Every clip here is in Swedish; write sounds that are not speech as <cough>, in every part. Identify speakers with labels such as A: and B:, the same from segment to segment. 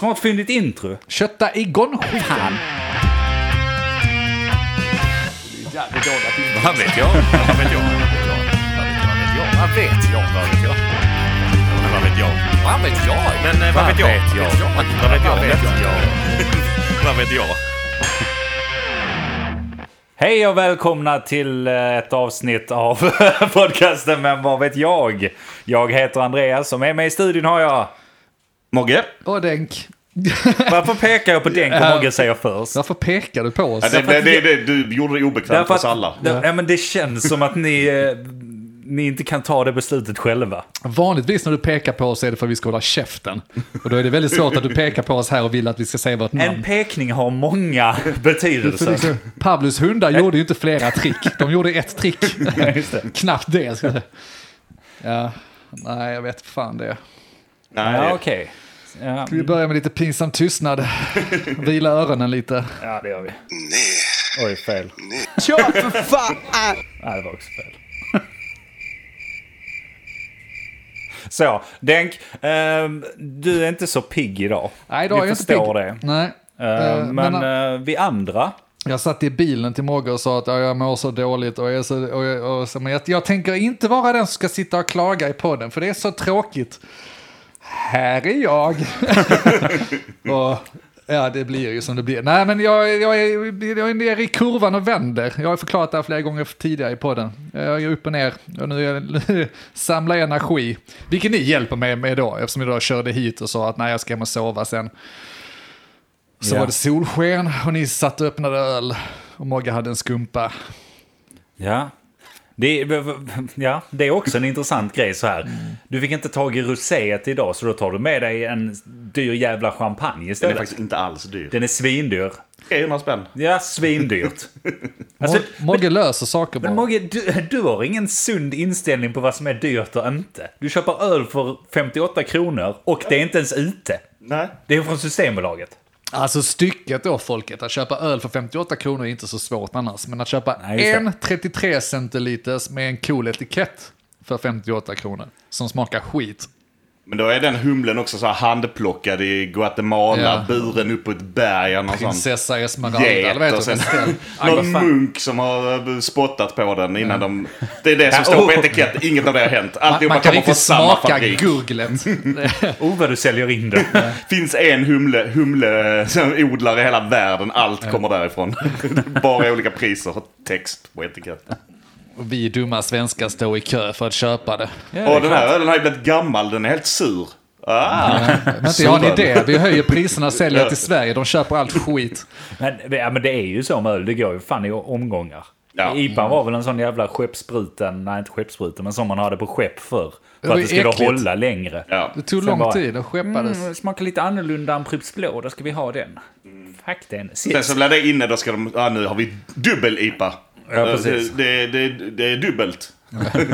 A: Smartfyndigt intro.
B: Kötta igång skivan.
C: Jävligt dåligt intro.
D: Vad vet jag? Vad vet jag? Vad vet jag? Vad vet jag? Vad vet jag?
C: Vad vet jag?
D: Men eh, vad vet jag? Vad vet jag? Vad vet jag? Vad vet jag? <laughs>
A: Hej och välkomna till eh, ett avsnitt av <laughs> podcasten Men vad vet jag? Jag heter Andreas och med mig i studion har jag... Mogge.
B: Och Denk,
A: Varför pekar jag på
D: <laughs>
A: Denk och Mogge säger först?
B: varför pekar du på oss?
D: Ja, det, det, det, det, du gjorde det obekvämt för oss alla.
A: ja. Ja, men det känns som att ni, eh, ni inte kan ta det beslutet själva.
B: Vanligtvis när du pekar på oss är det för att vi ska hålla käften. Och då är det väldigt svårt att du pekar på oss här och vill att vi ska säga vårt
A: En
B: namn.
A: pekning har många <laughs> betydelser.
B: Pablos hundar gjorde ju inte flera trick. De gjorde ett trick.
A: Ja, just det.
B: Knappt det. ska jag säga. Ja, nej, jag vet fan det.
A: Ja,
D: Nej,
A: okej. Ja,
B: Vi börjar med lite pinsam tystnad. Vila öronen lite.
A: ja, det gör vi. Oj, fel.
C: Ja, för fan!
A: Nej, det var också fel. <laughs> Så, Denk, ehm, du är inte så pigg idag.
B: Nej, idag
A: vi
B: är jag inte
A: förstår
B: pigg.
A: det.
B: Nej.
A: Ehm,
B: Eh,
A: men eh, vi andra,
B: Jag satt i bilen till Mogge och sa att "Ja, jag mår så dåligt. Och jag, är så, och jag, och så, men jag, jag tänker inte vara den som ska sitta och klaga i podden, för det är så tråkigt. Här
A: <laughs>
B: är jag. och, ja, det blir ju som det blir. Nej, men jag, jag, är, jag är nere i kurvan och vänder. Jag har förklarat det här flera gånger tidigare i podden. Jag är upp och ner och nu, är jag, nu samlar jag energi. Vilket ni hjälper mig med då, eftersom jag då körde hit och sa att nej, jag ska hem och sova sen. Så
A: Ja.
B: var det solsken och ni satt och öppnade öl. Och Mogge hade en skumpa.
A: ja. Det, är- ja, det är också en intressant grej så
B: Mm.
A: här. Du fick inte tag i roséet idag så då tar du med dig en dyr jävla champagne
D: den är
A: istället.
D: faktiskt inte alls dyr.
A: Den är svindyr.
D: 300 spänn.
A: Ja,
D: <laughs>
A: svindyrt. Alltså,
B: Mo- Mogge löser saker
A: men
B: bara.
A: Mogge, du, du har ingen sund inställning på vad som är dyrt och inte. Du köper öl för 58 kronor och det är inte ens ute.
D: Nej.
A: Det är från Systembolaget.
B: Alltså stycket då folket, att köpa öl för 58 kronor är inte så svårt annars. Men att köpa
A: Nej, just det.
B: en 33 centiliters med en cool etikett för 58 kronor. Som smakar skit.
D: Men då är den humlen också så här handplockad i Guatemala,
B: Ja.
D: buren upp på ett berg eller något sånt.
B: Prinsessa Esmeralda, eller vad
D: get
B: heter
D: och sen
B: det?
D: <laughs>
B: Estelle.
D: någon munk som har eh, spottat på den innan de... Det är det som
A: Ja,
D: står på
A: oh.
D: etiketten. Inget av det har hänt.
B: Man,
D: Alltihopa
B: man kan
D: kommer från
B: riktigt
D: samma
B: smaka
D: fabrik.
B: gurglet.
D: <laughs>
A: Oh, vad du säljer in det.
D: Finns en humle, humle som <laughs> odlar i hela världen. Allt kommer därifrån. <laughs> Bara olika priser och text på etiketten.
B: Och vi dumma svenskar står i kö för att köpa det.
D: och den här ölen har ju blivit gammal. Den är helt sur. Ah.
B: Men inte jag har en
D: Sådan.
B: idé. Vi höjer priserna och
D: <laughs>
B: säljer till Sverige. De köper allt skit.
A: Men, ja, men det är ju så med öl, det går ju fan i omgångar.
D: Ja.
A: IPA var väl en sån jävla skeppsbruten, nej inte skeppsbruten, men som man hade på skepp förr. För
B: var
A: att det skulle
B: äckligt.
A: hålla längre.
D: Ja.
B: Det tog
A: Sen
B: lång
A: bara-
B: tid och skeppades.
A: Mm, smakar lite annorlunda än Pripps Blå, då ska vi ha den. Fuck den.
D: Sen så blir det inne, då ska de... Ah, nu har vi dubbel-IPA. Eh,
A: Ja, precis.
D: Det, det, det, det är dubbelt.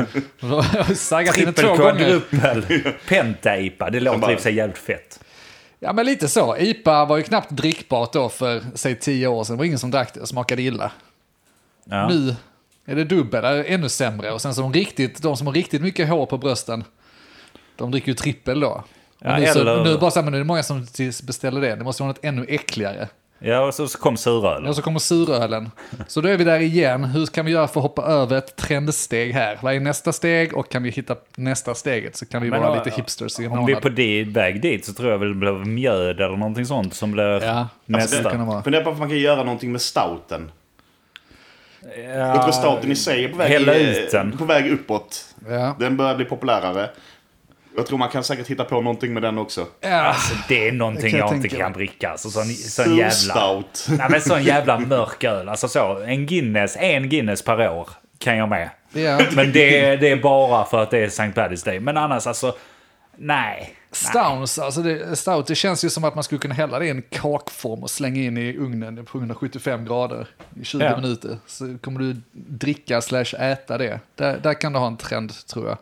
B: <laughs> Saggat in den
A: Trippel,
B: två gånger.
A: kvadrupel, penta-IPA. Det låter
D: bara-
A: i och för sig jävligt fett.
B: Ja, men lite så. IPA var ju knappt drickbart då för, säg, tio år sedan. Det var ingen som drack det och smakade illa.
A: Ja.
B: Nu är det dubbel, det är ännu sämre. Och sen så de, riktigt, de som har riktigt mycket hår på brösten, de dricker ju trippel då.
A: Ja,
B: Ja, nu, så,
A: eller-
B: nu, är det bara så här, men nu är det många som beställer det. Det måste vara något ännu äckligare.
A: Ja, och så så kom surölen.
B: Och så kommer surölen. Så då är vi där igen. Hur kan vi göra för att hoppa över ett trendsteg här? Vad är nästa steg och kan vi hitta nästa steget så kan vi
A: Men
B: vara
A: om-
B: lite hipsters i en
A: Om vi är
B: månad.
A: på di- väg dit så tror jag väl det blir mjöd eller någonting sånt som blir
B: Ja, alltså,
A: nästa.
B: det kan det vara.
D: Fundera på om man kan göra någonting med stouten. Jag tror stouten i sig är på väg,
A: Hälla
D: i-
A: ut den.
D: På väg uppåt.
B: Ja.
D: Den börjar bli populärare. Jag tror man kan säkert hitta på någonting med den också.
B: Ja.
A: Alltså, det är någonting
B: Det kan
A: jag,
B: jag
A: inte
B: tänka
A: kan dricka. Alltså, sån, sån jävla...
D: Surstout.
A: Nej, men sån jävla mörk öl. Alltså så, en Guinness, en Guinness per år kan jag med.
B: Ja.
A: Men det, är- det är bara för att det är St. Paddy's Day. Men annars alltså, nej.
B: Stouts, alltså det, stout, det känns ju som att man skulle kunna hälla det i en kakform och slänga in i ugnen på 175 grader i 20
A: Ja.
B: minuter. Så kommer du dricka slash äta det. Där, där kan du ha en trend tror jag.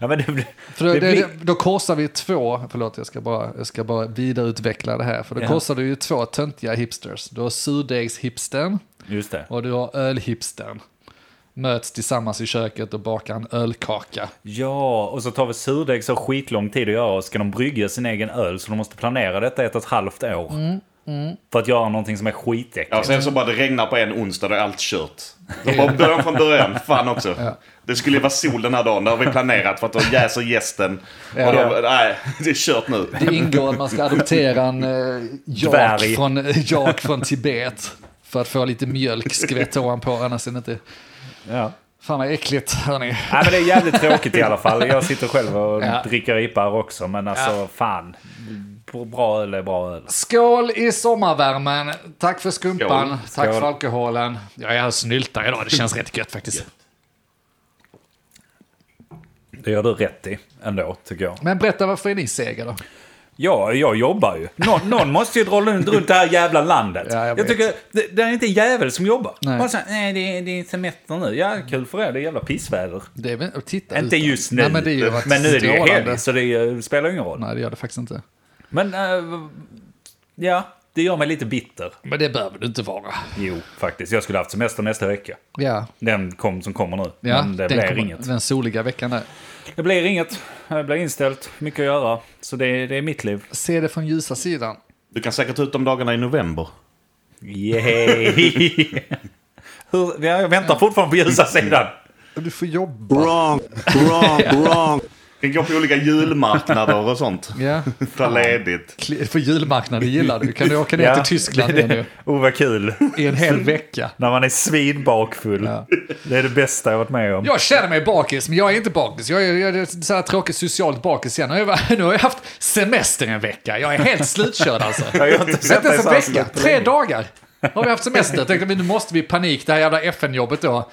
A: Ja, men det, blir-
B: För då,
A: det
B: det,
A: blir-
B: då korsar vi två, förlåt jag ska bara, jag ska bara vidareutveckla det här. För då
A: Ja.
B: korsar du ju två töntiga hipsters. Du har surdegshipstern
A: Just det.
B: och du har ölhipstern. möts tillsammans i köket och bakar en ölkaka.
A: Ja, och så tar vi surdeg så skitlång tid att göra och ska de brygga sin egen öl så de måste planera detta ett och ett halvt år.
B: Mm,
A: För att göra någonting som är skitäckligt.
D: Ja, sen så bara det regnar på en onsdag, då är allt kört. De bara börjar från början, fan också. Det skulle ju vara sol den här dagen, det har vi planerat för att då jäser gästen.
B: Ja.
D: Och då, nej, det är kört nu.
B: Det ingår att man ska adoptera en eh, jak,
A: Dvärg.
B: från, eh, jak från Tibet. För att få lite mjölk skvätt ovanpå, annars är det inte...
A: Ja.
B: Fan vad äckligt, hörni.
A: Nej, men det är jävligt tråkigt i alla fall. Jag sitter själv och
B: Ja.
A: dricker IPA här också, men alltså fan. B- Bra öl är bra öl.
B: Skål i sommarvärmen. Tack för skumpan.
D: Skål.
B: Tack
A: Skål.
B: för alkoholen. Jag är här och snyltar idag. Det känns rätt gött faktiskt.
A: Det gör du rätt i ändå, tycker jag.
B: Men berätta, varför är ni sega då?
A: Ja, jag jobbar ju. Nå, någon måste ju dra runt, runt det här jävla landet.
B: Ja, jag
A: jag
B: vet.
A: tycker, det, det är inte en jävel som jobbar.
B: Nej.
A: Bara så här, nej, det är, det är semester nu. Ja, kul för er, det är jävla pissväder.
B: Det är väl, och titta
A: Inte
B: ut då.
A: just nu,
B: Nej, men, det är ju varit
A: men nu är det ju
B: strålande.
A: helg, så det eh, spelar ingen roll.
B: Nej, det gör det faktiskt inte.
A: Men, eh, ja, det gör mig lite bitter.
B: Men det behöver du inte vara.
A: Jo, faktiskt. Jag skulle haft semester nästa vecka.
B: Ja,
A: Den kom, som kommer nu.
B: ja
A: men det
B: den
A: blir
B: kommer-
A: inget.
B: Den soliga veckan där.
A: Det blir inget. Det blir inställt. Mycket att göra. Så det, det är mitt liv.
B: Se det från ljusa sidan.
D: Du kan säkert ta ut de dagarna i november.
A: Yay! <laughs> Hur, ja, jag väntar fortfarande på ljusa sidan.
B: Du får jobba.
D: Wrong, wrong, wrong. Du kan gå på olika julmarknader och sånt.
B: Ja.
D: <laughs> Ta ledigt.
B: Kli- För julmarknaden gillar du. Kan du åka ner till Tyskland
A: det-
B: igen nu?
A: Oh, vad kul.
B: I en <laughs> hel vecka.
A: När man är svinbakfull.
B: Ja.
A: Det är det bästa jag varit med om.
B: Jag känner mig bakis, men jag är inte bakis. Jag är, jag är så här tråkigt socialt bakis igen. Nu har, jag, varit- <laughs> nu har jag haft semester en vecka. Jag är helt slutkörd <laughs> alltså.
A: Ja, jag har inte sett
B: Inte
A: dig
B: ens
A: så
B: en
A: här
B: vecka,
A: snabbt.
B: tre dagar har vi haft semester. Jag tänkte men nu måste vi i panik, det här jävla FN-jobbet då.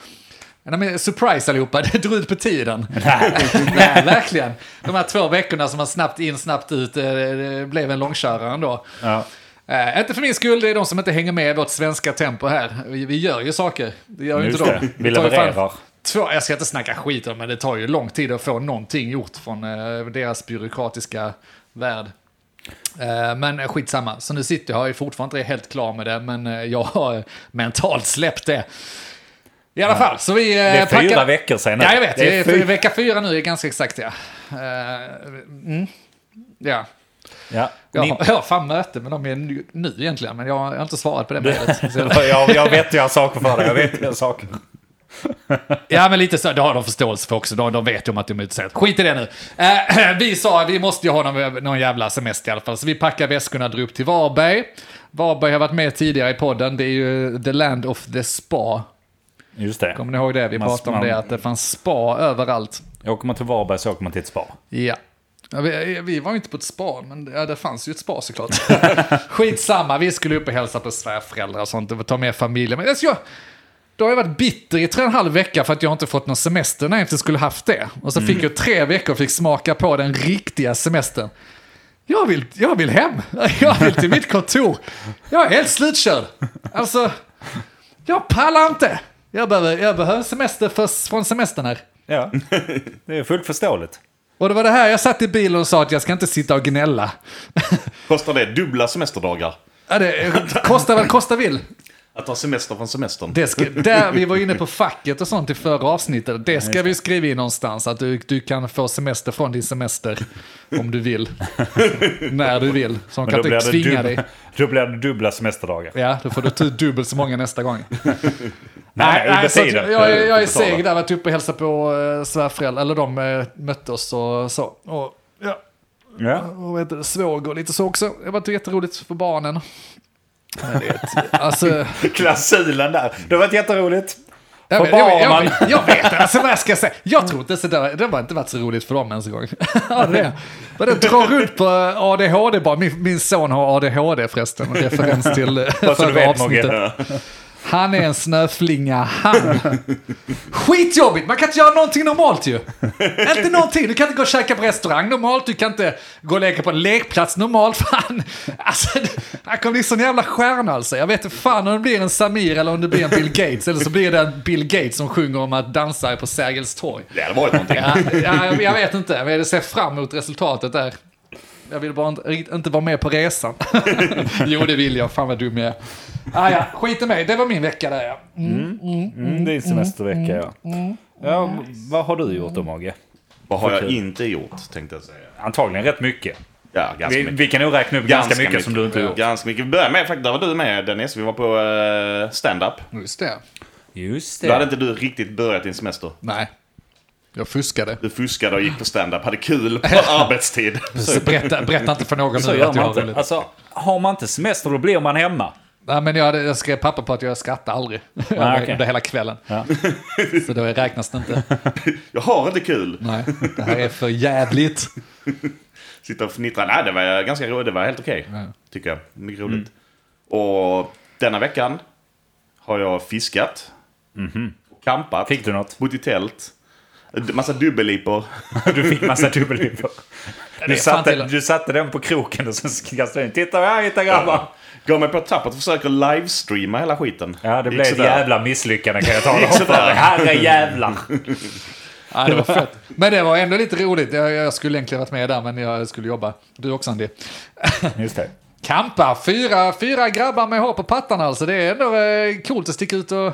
B: Nej, men surprise allihopa, <laughs> det drog ut på tiden. <laughs> Nej, verkligen. De här två veckorna som man snabbt in, snabbt ut, eh, det blev en långkörare ändå.
A: Ja.
B: Eh, inte för min skull, det är de som inte hänger med i vårt svenska tempo här. Vi, vi gör ju saker, det gör ju
A: Just
B: inte de.
A: det, vi
B: tar ju fan
A: levererar.
B: Två, jag ska inte snacka skit om det, men det tar ju lång tid att få någonting gjort från eh, deras byråkratiska värld. Eh, Men eh, skitsamma, så nu sitter jag och är fortfarande inte helt klar med det, men eh, jag har eh, mentalt släppt det. I alla fall, så vi eh,
A: Det är fyra
B: packar-
A: veckor sedan nu.
B: Ja, jag vet.
A: Det är
B: Det är
A: fyra-
B: Vecka fyra nu är ganska exakt ja. Eh, Mm. Ja.
A: Ja.
B: Jag
A: Ni,
B: har, jag har fan möte med dem igen nu- nu egentligen, men jag har jag har inte svarat på det mejlet.
A: <laughs>
B: Så-
A: jag, jag vet ju jag har saker för dig. Jag vet ju jag har saker.
B: Ja, men lite så. Det har de förståelse för också. De, de vet ju om att de är utsatta. Skit i det nu. Eh, <clears throat> vi sa vi måste ju ha någon, någon jävla semester i alla fall. Så vi packar väskorna och drar upp till Varberg. Varberg har varit med tidigare i podden. Det är ju the land of the spa.
A: Just det.
B: Kommer ni ihåg det? Vi
A: Man-
B: pratade om
A: man-
B: det, att det fanns spa överallt.
A: Åker man till Varberg så åker man till ett spa.
B: Ja. Ja, Vi, vi var ju inte på ett spa, men det, ja, det fanns ju ett spa såklart. <laughs> Skitsamma, vi skulle upp och hälsa på svärföräldrar och sånt och ta med familjen. Men alltså, jag, då har jag varit bitter i tre och en halv vecka för att jag inte fått någon semester när jag inte skulle haft det. Och så fick jag tre veckor och fick smaka på den riktiga semestern. Jag vill, jag vill hem, <laughs> jag vill till mitt kontor. Jag är helt slutkörd. Alltså, jag pallar inte. Jag behöver, jag behöver semester för, från semestern här.
A: Ja, det är fullt förståeligt.
B: Och det var det här jag satt i bilen och sa att jag ska inte sitta och gnälla.
D: Kostar det dubbla semesterdagar?
B: Ja, det kostar väl kosta vill.
D: Att ta semester från semestern?
B: Det ska, där vi var inne på facket och sånt i förra avsnittet. Det ska vi skriva in någonstans. Att du, du kan få semester från din semester. Om du vill. När du vill. Så de kan inte tvinga dig.
A: dubbla, då blir det dubbla semesterdagar.
B: Ja, då får du ta ut dubbelt så många nästa gång.
A: Nej, under
B: så att
A: tiden.
B: Jag, jag, jag är
D: Du får betala.
B: seg där, varit uppe och hälsat på eh, svärföräldrar, eller de eh, mötte oss och så. Och, ja,
A: Ja.
B: och vad heter det, svåger och lite så också. Det var inte jätteroligt för barnen. Men det är ett- Alltså, jag,
A: <laughs> Klausulen där. Det har varit
B: <laughs>
A: jätteroligt.
B: jag,
A: För
B: jag, jag,
A: barnen.
B: jag vet alltså vad jag ska säga. Jag tror inte så där, det har inte varit så roligt för dem ens en gång. Ja, det, <laughs> men det drar runt på ADHD bara. Min, min son har ADHD förresten, referens till eh,
A: Bara så du
B: förra
A: vet,
B: avsnittet.
A: Mogge.
B: Han är en snöflinga, han. Skitjobbigt, man kan inte göra någonting normalt ju. inte någonting, du kan inte gå och käka på restaurang normalt, du kan inte gå och leka på en lekplats normalt. Fan. Alltså, han kommer bli sån jävla stjärna alltså. Jag vet inte fan om det blir en Samir eller om det blir en Bill Gates. Eller så blir det en Bill Gates som sjunger om att dansa på Sergels torg.
D: Det hade varit någonting.
B: Ja, ja, jag- jag vet inte, men jag ser fram emot resultatet där.
A: <laughs>
B: Jag vill bara inte, riktigt inte vara med på resan. jo, det vill jag. Fan vad dum jag är. Ah, ja, skit i mig, det var min vecka där ja.
A: Mm, det är semestervecka,
B: Mm.
A: ja. ja Vad har du gjort då, Mogge?
D: Vad har jag
A: Okej.
D: inte gjort, tänkte jag säga.
A: Antagligen rätt mycket.
D: Ja, ganska
A: Vi,
D: mycket.
A: vi kan nog räkna upp ganska, mycket, som du inte har gjort.
D: Ganska mycket. Vi börjar med, faktiskt, där var du med Dennis. Vi var på eh, stand-up.
B: Just det.
A: Just
D: Då hade
A: det.
D: inte du riktigt börjat din semester.
B: Nej, jag fuskade.
D: Du fuskade och gick på stand-up, hade kul på
A: <laughs>
D: arbetstid.
B: Så Berätta, berätta inte för någon nu
A: Så
B: att
A: gör
B: jag har
A: man
B: roligt.
A: inte. Alltså, har man inte semester då blir man hemma.
B: Nej, men jag, hade, jag skrev papper på att jag skrattar aldrig. <laughs>
A: Ah, okej.
B: Under hela kvällen.
A: Ja.
B: <laughs> Så då räknas det inte.
D: Jag har inte kul.
B: Nej, det här är för jävligt.
D: Sitta och fnittra. Nej, det var ganska roligt. Det var helt okej, tycker jag. Mycket roligt.
A: Mm.
D: Och denna veckan har jag fiskat. och Kampat.
A: Mhm. Fick du något?
D: Bott i tält. Massa dubbellipor.
A: Du fick massa dubbellipor. Du,
B: är fan
A: satte-
B: till-
A: du satte den på kroken och sen kastade du in. Titta vad jag hittade grabbar!
D: <laughs> Gav mig på tappet och försöker livestreama hela skiten.
A: Ja, det
D: Gick
A: blev ett
D: sådär.
A: jävla misslyckande kan jag tala om
D: Gick
A: för
D: sådär.
A: dig. Herre jävlar.
B: Ja, Ah, det var fett. Men det var ändå lite roligt. Jag, jag skulle egentligen varit med där, men jag skulle jobba. Du också Andy.
A: Just det.
B: Kampa, fyra, fyra grabbar med hår på pattarna alltså. Det är ändå eh, coolt att sticka ut och...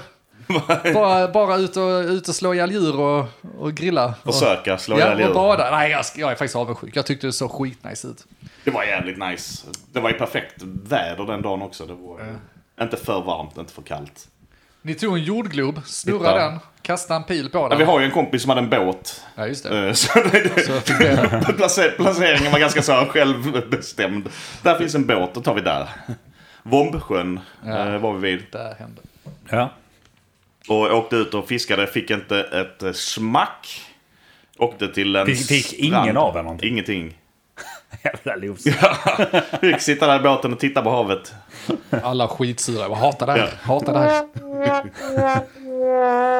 B: bara bara ut, och, ut och slå ihjäl djur och, och grilla. Och,
D: <laughs> Försöka slå ihjäl
B: ja, och
D: djur.
B: bada. Nej, jag, jag är faktiskt avundsjuk. Jag tyckte det såg skitnice ut.
D: Det var jävligt nice. Det var ju perfekt väder den dagen också. Det var ju inte för varmt, inte för kallt.
B: Ni tog en jordglob, snurrade
D: Titta.
B: den, kastade en pil på
D: Ja,
B: den.
D: vi har ju en kompis som hade en båt.
B: Ja, just det.
D: Eh, <laughs> Så det,
B: Så jag fick det.
D: <laughs> Placer, placeringen var ganska så här självbestämd. Där finns en båt, då tar vi där. Vombsjön eh, var vi vid.
B: Där hände.
A: Ja. <laughs>
D: Och åkte ut och fiskade, fick inte ett eh, smack. Åkte till en
A: Fick- fick ingen
D: strand.
A: av er någonting?
D: Ingenting.
A: Jävla los.
D: Fick sitta där i båten och titta på havet.
B: Alla skitsura. Jag hatar det här.
D: Ja.
B: Hatar det här.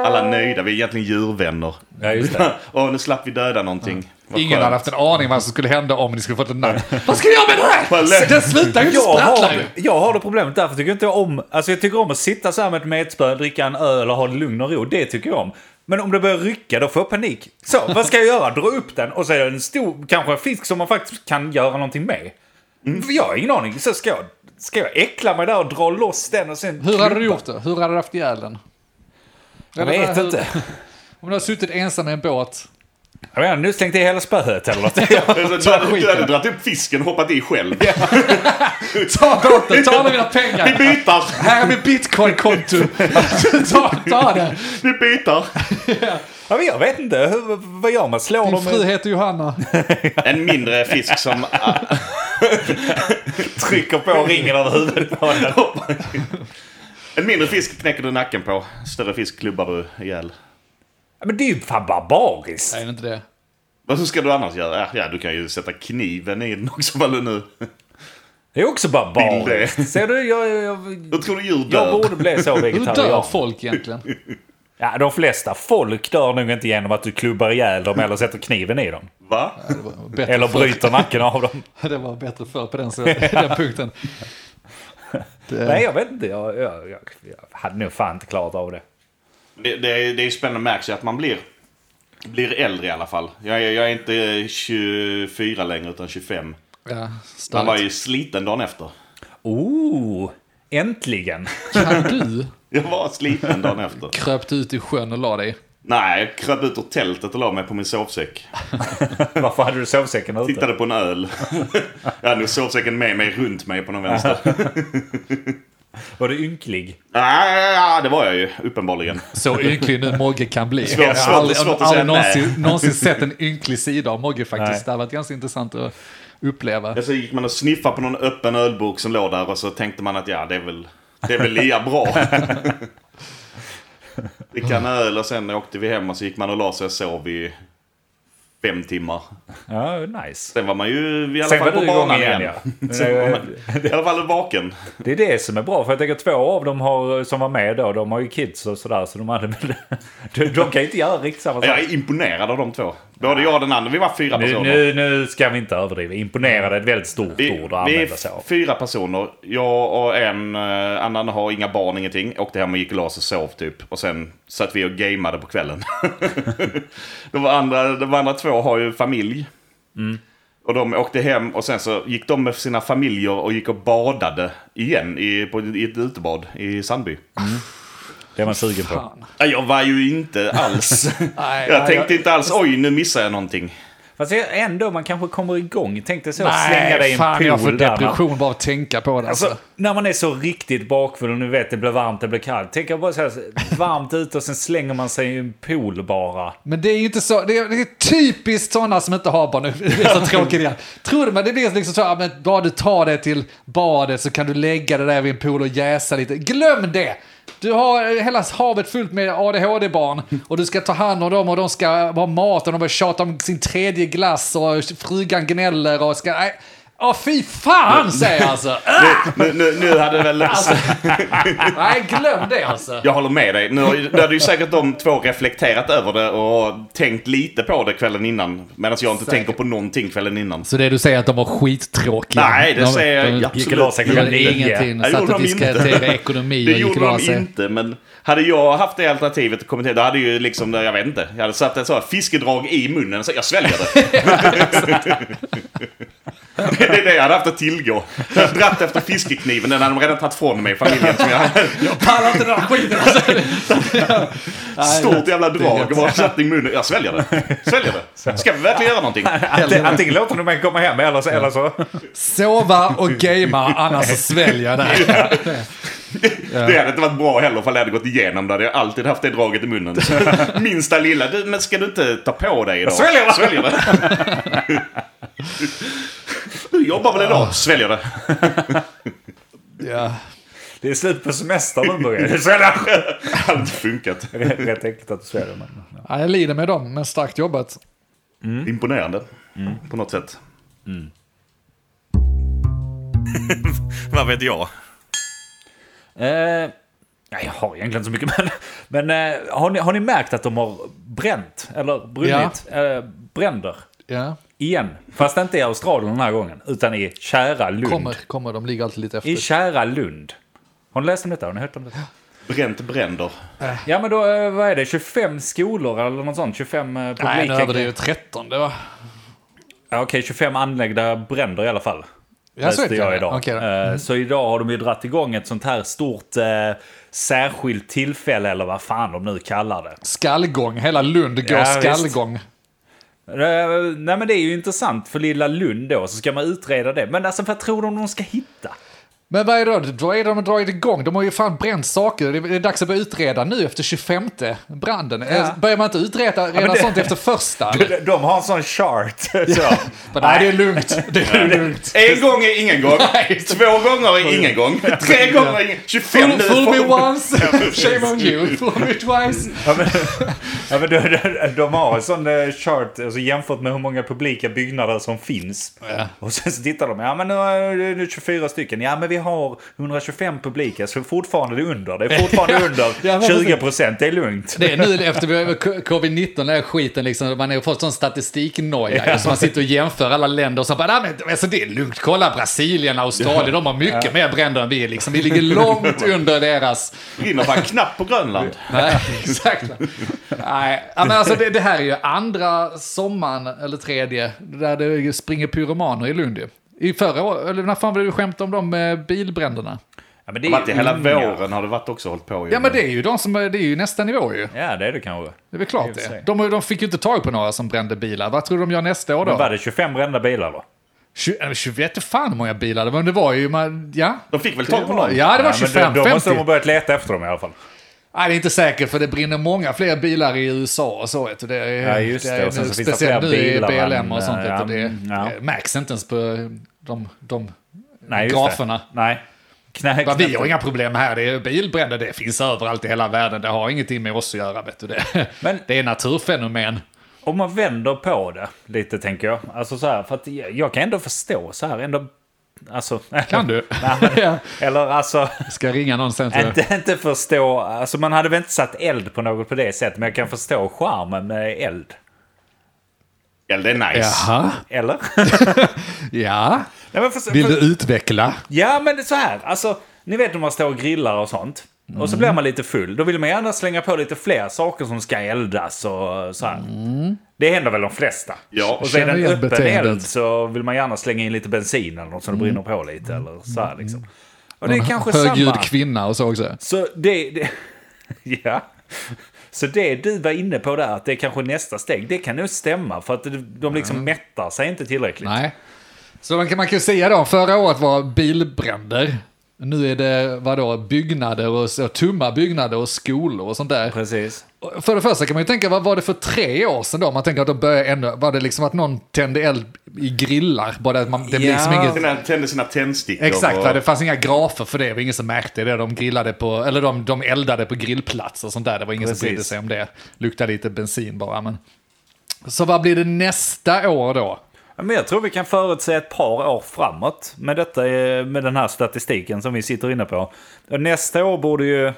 D: Alla nöjda, vi är egentligen djurvänner.
A: Ja, just det.
D: <laughs> Åh, nu slapp vi döda någonting. Vad
B: Ingen
D: skönt.
B: hade haft en aning vad som skulle hända om ni skulle fått en namn. Vad ska vi göra med det
D: Vad
B: här?
D: lätt.
B: Den slutar ju, den
A: Jag
B: sprattlar
A: har,
B: ju.
A: jag har det problemet därför tycker jag inte om... Alltså jag tycker om att sitta så här med ett metspö, dricka en öl och ha det lugn och ro. Det tycker jag om. Men om det börjar rycka då får jag panik. Så, vad ska jag göra? Dra upp den och så är det en stor, kanske en fisk som man faktiskt kan göra någonting med.
B: Mm.
A: För Jag har ingen aning. Så ska jag, ska jag äckla mig där och dra loss den och sen...
B: Hur hade du
A: klippa?
B: gjort det? Hur hade du haft ihjäl den?
A: Jag vet inte.
B: Om du har suttit ensam i en båt.
A: Jag vet inte, nu slängde jag hela spöet eller
B: <laughs>
A: något. <laughs>
D: Du hade, du hade dragit upp fisken och hoppat i själv.
B: Ta båten, ta alla mina pengar.
D: Vi byter!
B: Här är mitt bitcoin-konto. ta, ta det.
D: Vi byter!
A: Ja, men jag vet inte, hur, vad gör man? Slår
B: Min
A: dem?
B: fru heter Johanna.
D: En mindre fisk som ah.
A: Trycker på ringen över huvudet på den.
D: En mindre fisk knäcker du nacken på. Större fisk klubbar du ihjäl.
A: Ja, Men det är ju fan barbariskt.
B: Nej, det är inte det.
D: Vad ska du annars göra? Ja, Ja, du kan ju sätta kniven i den också vad du nu...
A: Det är också
D: Bilder.
A: barbariskt. Ser du, jag, jag, jag,
D: Då tror du djur
A: jag
D: dör.
A: borde bli så
B: Hur dör
A: vegetarian.
B: folk egentligen?
A: Ja, de flesta folk dör nog inte genom att du klubbar ihjäl dem eller sätter kniven i dem.
D: Va?
B: Det var bättre
A: Eller
B: förr.
A: bryter nacken av dem.
B: <laughs> Det var bättre förr på den, så, <laughs> den punkten.
A: <laughs>
B: Det-
A: Nej, jag vet inte. Jag, jag, jag, jag hade nog fan inte klarat av det.
D: Det, det, är- det är ju spännande, märks ju att man blir... Blir äldre i alla fall. Jag, är- jag är inte 24 längre utan 25.
B: Ja,
D: Man var
B: starkt.
D: ju sliten dagen efter.
A: Oh, äntligen.
B: Kan du
D: Jag var sliten dagen efter.
B: kröpt ut i sjön och la dig?
D: Nej, jag kröp ut ur tältet och la mig på min sovsäck.
A: Varför hade du sovsäcken ute?
D: Tittade på
A: <laughs>
D: en öl. Jag hade nog sovsäcken med mig runt mig på någon vänster.
A: Var du ynklig?
D: Nej, ja, det var jag ju uppenbarligen.
B: Så ynklig nu Mogge kan bli.
D: Svårt-
B: jag har
D: svårt-
B: aldrig,
D: svårt att
B: aldrig
D: säga nej.
B: någonsin, någonsin sett en ynklig sida av Mogge faktiskt.
A: Nej.
B: Det har varit ganska intressant att uppleva.
D: Ja, Så gick man och sniffade på någon öppen ölburk som låg där och så tänkte man att ja, det är väl, det är väl lika
A: <laughs>
D: bra. Dricka en öl och sen åkte vi hem och så gick man och la sig och sov i fem timmar.
A: Ja, nice.
D: Sen var man ju i alla
A: Sen var
D: fall på
A: du igång
D: banan
A: igen,
D: igen.
A: ja.
D: <laughs>
A: <laughs> eh,
D: Sen var man, I alla fall vaken.
A: Det är det som är bra, för jag tänker två av dem har, som var med då, de har ju kids och sådär, så de, hade, de, <laughs> de kan ju inte göra riktigt samma sak.
D: Jag är imponerad av de två. Både jag och den andra, vi var fyra
A: Nu,
D: personer.
A: nu, nu ska vi inte överdriva. Imponerad är ett väldigt stort
D: Vi,
A: ord att
D: vi
A: använda sig
D: är
A: av.
D: fyra personer. Jag och en eh, annan har inga barn, ingenting. Åkte hem och gick och la oss och sov typ. Och sen satt vi och gameade <laughs> på kvällen. de, andra, de andra två har ju familj. Och de åkte hem och sen så gick de med sina familjer och gick och badade igen i, på, i ett utebad i Sandby.
A: Det är man sugen på.
B: Fan.
D: Nej, Jag var ju inte alls...
B: <laughs> Nej,
D: jag
B: nej,
D: tänkte
B: jag-
D: inte alls, oj nu missar jag någonting.
A: Fast jag- ändå, man kanske kommer igång. Tänk dig så, slänga dig i
B: Nej,
A: en
B: fan
A: pool
B: jag får
A: där. man-
B: depression bara att tänka på det. Alltså.
A: Alltså, när man är så riktigt bakfull och nu vet det blir varmt, det blir kallt. Tänk jag bara så här, varmt ute och sen slänger man sig i en pool bara.
B: Men det är ju inte så, det är, det är typiskt sådana som inte har barn nu. <laughs> Det är så tråkigt igen. Tror du, men det blir liksom så, ja, men bara du tar dig till badet så kan du lägga dig där vid en pool och jäsa lite. Glöm det! Du har hela havet fullt med ADHD-barn och du ska ta hand om dem och de ska ha mat och de börjar tjata om sin tredje glass och frugan gnäller och ska... Nej. Åh fy fan säger jag alltså! <laughs>
D: Nu, nu, nu hade väl...
B: Nej, glöm det alltså!
D: Jag håller med dig. Nu har ju- nu hade ju säkert de två reflekterat över det och tänkt lite på det kvällen innan. Medan jag inte
B: Säkert.
D: tänker på någonting kvällen innan.
B: Så det du säger är att de var skittråkiga?
D: Nej, det säger jag absolut
A: och la sig klockan
B: Gjorde
A: nio.
B: ingenting,
D: Nej, det
B: satt
D: gjorde
B: och
D: de
B: diskuterade
D: inte.
B: ekonomi
D: Det
B: och gick och
D: gjorde
B: la
D: de
B: sig.
D: inte, men hade jag haft det alternativet att kommentera, då hade ju liksom, jag vet inte, jag hade satt ett så här fiskedrag i munnen så jag sväljer det. <laughs> det är det jag hade haft att tillgå. Jag hade dratt efter fiskekniven, den hade de redan tagit från mig, familjen som jag hade.
B: Jag pallar inte den här skiten alltså. Nej,
D: Stort jävla drag och bara satt i munnen, jag sväljer det. Sväljer det. Ska vi verkligen göra någonting?
A: Antingen, antingen låter du mig komma hem eller så... Eller så.
B: Sova och gamea, annars så sväljer jag det.
D: Det hade inte varit bra heller ifall jag hade gått igenom det. Hade jag alltid haft det draget i <laughs> munnen. Minsta lilla. Du, men ska du inte ta på dig idag?
A: sväljer det.
D: Sväljer det. Du jobbar väl idag? Sväljer det.
B: Ja.
A: Det är slut på semestern nu börjar det svälla.
D: Hade inte funkat.
A: Rätt äckligt att du sväljer. men-
B: Ja, Jag lider med dem, men starkt jobbat.
D: Imponerande. På något sätt. Mm. <laughs> Vad vet jag?
A: Eh, nej, jag har egentligen inte så mycket. <laughs> Men, men eh, har, ni, har ni märkt att de har bränt? Eller brunnit? Eh, bränder?
B: Ja.
A: Igen. Fast inte i Australien den här gången. Utan i kära Lund.
B: Kommer, kommer, de ligger alltid lite efter.
A: I kära Lund. Har ni läst om detta? Har ni hört om detta?
D: Bränt bränder.
A: Ja men då, eh, vad är det? 25 skolor eller något sånt? 25 eh, publika...
B: Nej, nu överdrev 13 då.
A: Ja, Okej, 25 anläggda bränder i alla fall.
B: Ja, så är
A: Läste
B: det.
A: jag idag.
B: Okej då. Mm.
A: Eh, Så idag har de ju dratt igång ett sånt här stort eh, särskilt tillfälle, eller vad fan de nu kallar det.
B: Skallgång, hela Lund går
A: Ja, visst.
B: skallgång.
A: Eh, nej men det är ju intressant för lilla Lund då, så ska man utreda det. Men alltså vad tror de de ska hitta?
B: Men vad är det då? Vad är det de har dragit igång? De har ju fan bränt saker. Det är- det är dags att börja utreda nu efter 25 branden. Eh, Börjar man inte utreda redan
A: <laughs> det-
B: sånt efter första? eller?
A: De, de har en sån chart. <laughs> Så.
B: Men nej, det är <laughs> lugnt. Det är lugnt.
D: En gång är ingen <laughs> gång. Två gånger är ingen <laughs> gång. Tre gånger är ingen... 25
B: Fool,
D: nu.
B: fool me
D: får-
B: once, shame on you. Fool me twice.
A: Ja, men, ja, men de, de, de har en sån eh, chart alltså, jämfört med hur många publika byggnader som finns. Och sen så tittar de. Ja men nu är det nu 24 stycken. Ja men vi har 125 publika så fortfarande är det under. Det är fortfarande
B: <laughs> Ja,
A: under
B: men
A: 20 procent. Det är lugnt.
B: Det är nu efter vi har covid-19, den här skiten, liksom, man har fått sån statistiknoja. Så man sitter och jämför alla länder och så bara, "Nej, men, alltså, det är lugnt, kolla Brasilien, Australien, de har mycket mer bränder än vi. Liksom. Vi ligger långt <laughs> under deras...
D: Brinner fan knappt på Grönland.
B: Nej, exakt. Nej, ja, men alltså, det, det här är ju andra sommaren, eller tredje, där det springer pyromaner i Lund ju. I förra året, eller när fan var det du skämtade om de eh, bilbränderna?
A: Ja, men det
D: Det har varit i hela
A: unga.
D: våren har det varit också hållit på. ju.
B: Mm, Ja men det är ju de som, det är ju nästa nivå ju.
A: Ja det är det kanske.
B: Det är väl klart
A: och för
B: det.
A: sig.
B: De, de fick ju inte tag på några som brände bilar. Vad tror du de gör nästa år
A: Men var
B: då?
A: det 25 brända bilar då?
B: 20, äh, 20 vet du fan hur många bilar det var, men det var ju... Man, ja.
D: De fick väl tag på någon?
B: ja, det var
A: Ja, men
B: 25,
A: då, då måste
B: 50.
A: de ha börjat leta efter dem i alla fall.
B: Nej, det är inte säkert för det brinner många fler bilar i USA och så. Vet du. Det är,
A: Ja, just det.
B: är
A: Och sen
B: nu-
A: så finns det
B: speciellt
A: fler
B: nu i
A: bilar än-
B: BLM och sånt.
A: ja,
B: vet du. Det,
A: ja.
B: det märks inte ens på de, de
A: Nej, just
B: graferna.
A: Det. Nej. Knä,
B: Vad vi har inga problem här. Det är bilbränder, det finns överallt i hela världen. Det har ingenting med oss att göra. Vet du. Det,
A: Men-
B: det är naturfenomen.
A: Om man vänder på det lite tänker jag. Alltså så här, för att jag, jag kan ändå förstå så här. Ändå, alltså, <laughs>
B: Kan du?
A: Nej, men, eller alltså,
B: Ska jag ringa någon sen. tror jag.
A: inte, inte förstå. Alltså man hade väl inte satt eld på något på det sättet. Men jag kan förstå charmen med eld.
D: Ja, det är nice.
B: Jaha,
A: Eller? <laughs>
B: ja.
A: Nej, men för,
B: Vill
A: för,
B: du utveckla?
A: ja men det är så här. Alltså, ni vet när man står och grillar och sånt. Och
B: Mm. Mm.
A: så blir man lite full. Då vill man gärna slänga på lite fler saker som ska eldas och så här. Det händer väl de flesta.
D: Ja.
A: Och så är det en
B: Känner igen
A: öppen
B: beteendet.
A: eld så vill man gärna slänga in lite bensin eller något så det brinner på lite. Eller så
B: Mm.
A: här, liksom. Och det är kanske
B: Högljudd
A: samma.
B: kvinna och så också.
A: Så det, det... <laughs> Ja. Så det du var inne på där, att det är kanske nästa steg, det kan nog stämma. För att de liksom mättar sig inte tillräckligt.
B: Nej. Så man kan, man kan säga då, förra året var bilbränder. Nu är det vadå, byggnader och så, tomma byggnader och skolor och sånt där.
A: Precis.
B: Och För det första kan man ju tänka, vad var det för tre år sedan då? Man tänker att de började ännu, var det liksom att någon tände eld i grillar? Bara att man, det blir
A: Ja.
B: liksom inget...
D: Sina, tände sina tändstickor.
B: Exakt,
D: och-
B: va? det fanns inga grafer för det. Det var ingen som märkte det. De, grillade på, eller de, de eldade på grillplatser och sånt där. Det var ingen som
A: Precis.
B: brydde sig om det. Luktade lite bensin bara. Men. Så vad blir det nästa år då?
A: Ja, Men jag tror vi kan förutse ett par år framåt med, detta, eh, med den här statistiken som vi sitter inne på. Och nästa år borde ju...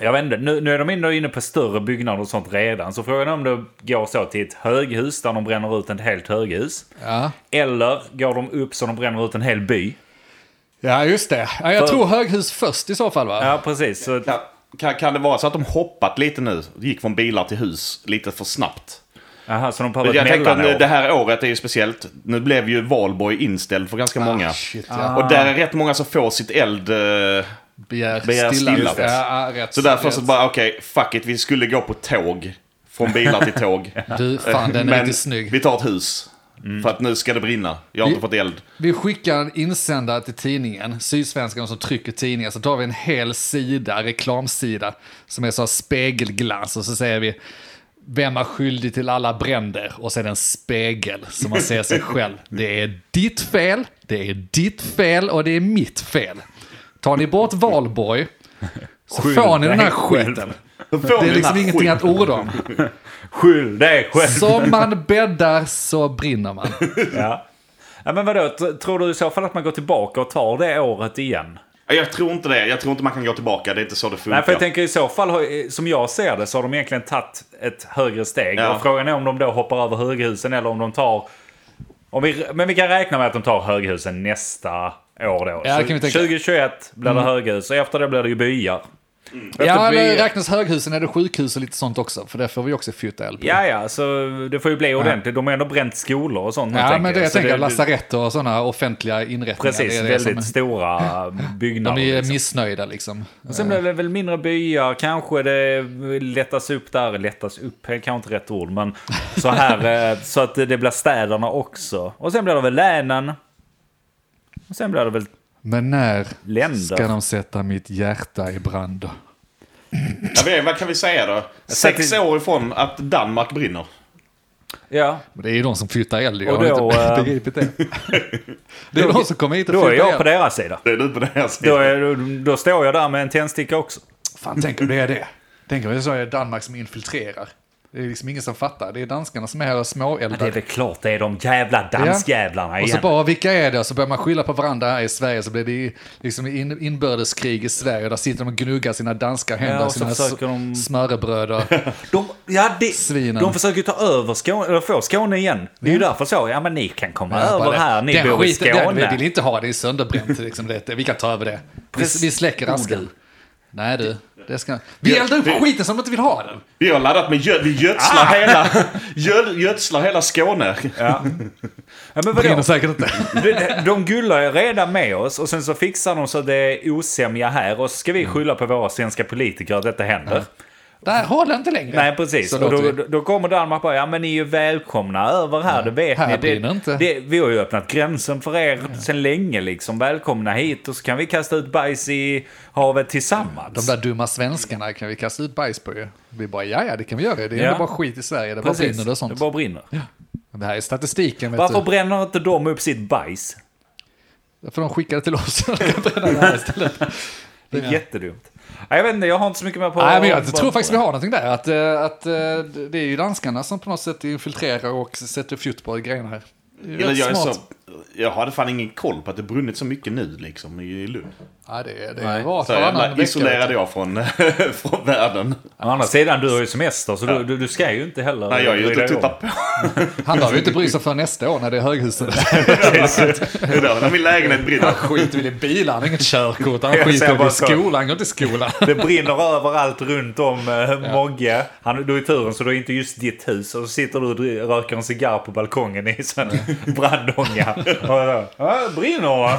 A: Jag vet inte, nu, nu är de ändå inne på större byggnader och sånt redan. Så frågan är om det går så till ett höghus där de bränner ut ett helt höghus.
B: Ja,
A: Eller går de upp så de bränner ut en hel by.
B: ja just det. Ja, jag
A: För-
B: tror höghus först i så fall va?
A: Ja, precis. Så,
D: Kan, kan, kan det vara så att de hoppat lite nu? Gick från bilar till hus lite för snabbt.
A: aha, så de
D: Men
A: behöver
D: Jag
A: ett
D: tänker att nu-
A: mellanår.
D: det här året är ju speciellt. Nu blev ju valborg inställd för ganska många.
B: Ah, shit, ja.
D: Och där är rätt många som får sitt eld... eh,
B: Begär,
D: Begär
B: stilla.
D: stilla.
B: Ja, ja, rätt,
D: Så därför
B: rätt.
D: så bara, okej, fuck it, vi skulle gå på tåg. Från bilar till tåg.
B: <laughs> Du, fan den är
D: Men
B: riktigt snygg. Mm.
D: vi tar ett hus. För att nu ska det brinna. Jag har inte fått eld.
B: Vi skickar en insändare till tidningen, Sydsvenskan som trycker tidningen, så tar vi en hel sida, reklamsida, som är så här spegelglans och så säger vi vem är skyldig till alla bränder? Och så är det en spegel som man ser sig själv. Det är ditt fel, det är ditt fel och det är mitt fel. Tar ni bort valborg så får ni den här skiten.
D: Får
B: Det
D: ni
B: är
D: den
B: liksom
D: här
B: ingenting
D: skiten?
B: att orda om.
A: Skyll dig själv!
D: <laughs>
B: Som man bäddar så brinner man.
A: Ja. Ja, men vadå, t- tror du i så fall att man går tillbaka och tar det året igen?
D: Jag tror inte det. Jag tror inte man kan gå tillbaka. Det är inte så det funkar.
A: Nej, för jag tänker i så fall, har- som jag ser det, så har de egentligen tagit ett högre steg.
D: Ja.
A: Och frågan är om de då hoppar över höghusen eller om de tar... Om vi, men vi kan räkna med att de tar höghusen nästa år då.
B: Ja, det
A: Så
B: kan vi tänka. Mm.
A: 2021 blir det höghus och efter det blir det ju byar. Efter
B: Ja, eller
A: byar-
B: räknas höghusen är det sjukhus och lite sånt också, för det får vi också fjuta eld på.
A: Ja, ja, så det får ju bli ordentligt. De har ändå bränt skolor och sånt. nu,
B: Ja, men det jag
A: Så
B: tänker,
A: det-
B: lasarett och sådana offentliga inrättningar.
A: Precis,
B: det är det
A: väldigt
B: som-
A: stora byggnader.
B: De är
A: liksom.
B: missnöjda liksom.
A: Och Sen blir det väl mindre byar, kanske det lättas upp där, lättas upp är kanske inte rätt ord, men så <laughs> här eh, så att det blir städerna också. Och sen blir det väl länen. Och sen blir det väl...
B: Men när
A: Länder.
B: ska de sätta mitt hjärta i brand?
D: Ja, vi är- vad kan vi säga då? Sex
A: till-
D: år ifrån att Danmark brinner.
A: Ja,
B: Men Det är ju de som fjutar eld, jag
A: Och
B: har
A: då,
B: inte
A: eh,
B: <laughs> begripit det.
A: <laughs>
B: Det är de som kommer hit och
A: då är
B: fjutar
A: jag på
B: eld.
A: deras sida.
D: Det är du på den här
A: Då,
D: sidan.
A: är, då- då står jag där med en tändsticka också.
B: Fan, tänk om det är det. Tänk om det är så är Danmark som infiltrerar. Det är liksom ingen som fattar. Det är danskarna som är här och
A: Men det är
B: småeldar.
A: väl klart det är de jävla danskjävlarna
B: Och så
A: igen.
B: bara, vilka är det? Och så börjar man skylla på varandra här i Sverige. Så blir det i- liksom in, inbördeskrig i Sverige. Där sitter de och gnuggar sina danska händer
A: Ja, och
B: och
A: så
B: sina s-
A: försöker de-
B: smörrebröd. Och...
A: <laughs> De, ja, det,
B: Svinen.
A: de försöker ju ta över Skåne, eller få Skåne igen. Det är ju därför så. Ja, men ni kan komma
B: Ja,
A: över
B: bara det.
A: här, ni
B: den
A: bor i
B: skiten, Den, vi vill
A: Skåne.
B: inte ha, det är sönderbränt. Liksom, det, vi kan ta över det. Vi,
A: Precis.
B: vi släcker askan.
A: Orden.
B: Nej du, det ska... Vi eldar upp skiten som de inte vill ha den.
D: Vi har laddat med gö- vi gödslar,
B: Ah!
D: hela, <laughs> gö- gödslar hela Skåne.
A: Ja, men vadå?
B: Brinner säkert inte.
A: De, de gullar ju redan med oss och sen så fixar de så att det är osämja här och så ska vi
B: Mm.
A: skylla på våra svenska politiker att detta händer.
B: Det här håller inte längre.
A: Nej, precis.
B: Så
A: Och
B: låter
A: då,
B: vi.
A: då- då kommer Danmark bara, ja men ni är ju välkomna över här, det vet
B: Här
A: ni.
B: brinner inte.
A: Det, vi har ju öppnat gränsen för er sedan länge liksom. Välkomna hit och så kan vi kasta ut bajs i havet
B: De
A: tillsammans.
B: där dumma svenskarna kan vi kasta ut bajs på ju. Vi bara, ja ja det kan vi göra. Det är
A: Ja.
B: ändå bara skit i Sverige. Det bara
A: Precis.
B: brinner och sånt.
A: Det bara brinner.
B: Det här är statistiken vet
A: Varför
B: du.
A: bränner inte de upp sitt bajs?
B: För de skickade till oss. <laughs> så de kan bränna det här istället.
A: Det är jättedumt. Nej, Jag vet inte, jag har inte så mycket mer på...
B: Nej, men jag
A: på-
B: tror faktiskt vi har någonting där. Att, eh, att eh, det är ju danskarna som på något sätt infiltrerar och sätter fjutt på grejerna här. Det är ju
D: Eller
B: rätt
D: jag är så
B: smart.
D: Jag hade fan ingen koll på att det brunnit så mycket nu liksom i Lund.
B: Ja, det, det
A: Nej.
B: var
D: Så jävla
B: varannan
D: isolerad jag från, <laughs> från världen.
A: Å andra sidan, du har ju semester så du, du, du ska ju inte heller...
D: Nej, jag har ju
A: bry
D: inte
A: dig om.
D: tuttat på.
B: Han behöver ju inte bry sig för nästa år när det är <laughs> höghuset.
D: <laughs> Det där, När min lägenhet brinner.
B: Skiter väl i bilar, han har inget körkort,
A: <laughs>
B: han
A: Jag säger
B: skiter väl
A: bara
B: i
A: så.
B: skolan, han går till skolan.
A: Det brinner <laughs> överallt runt om eh, Mogge. Han, du är i turen så du är inte just ditt hus. Och så sitter du och dri- röker en cigarr på balkongen i sån <laughs> brandånga. Och då, "Ja, Brinner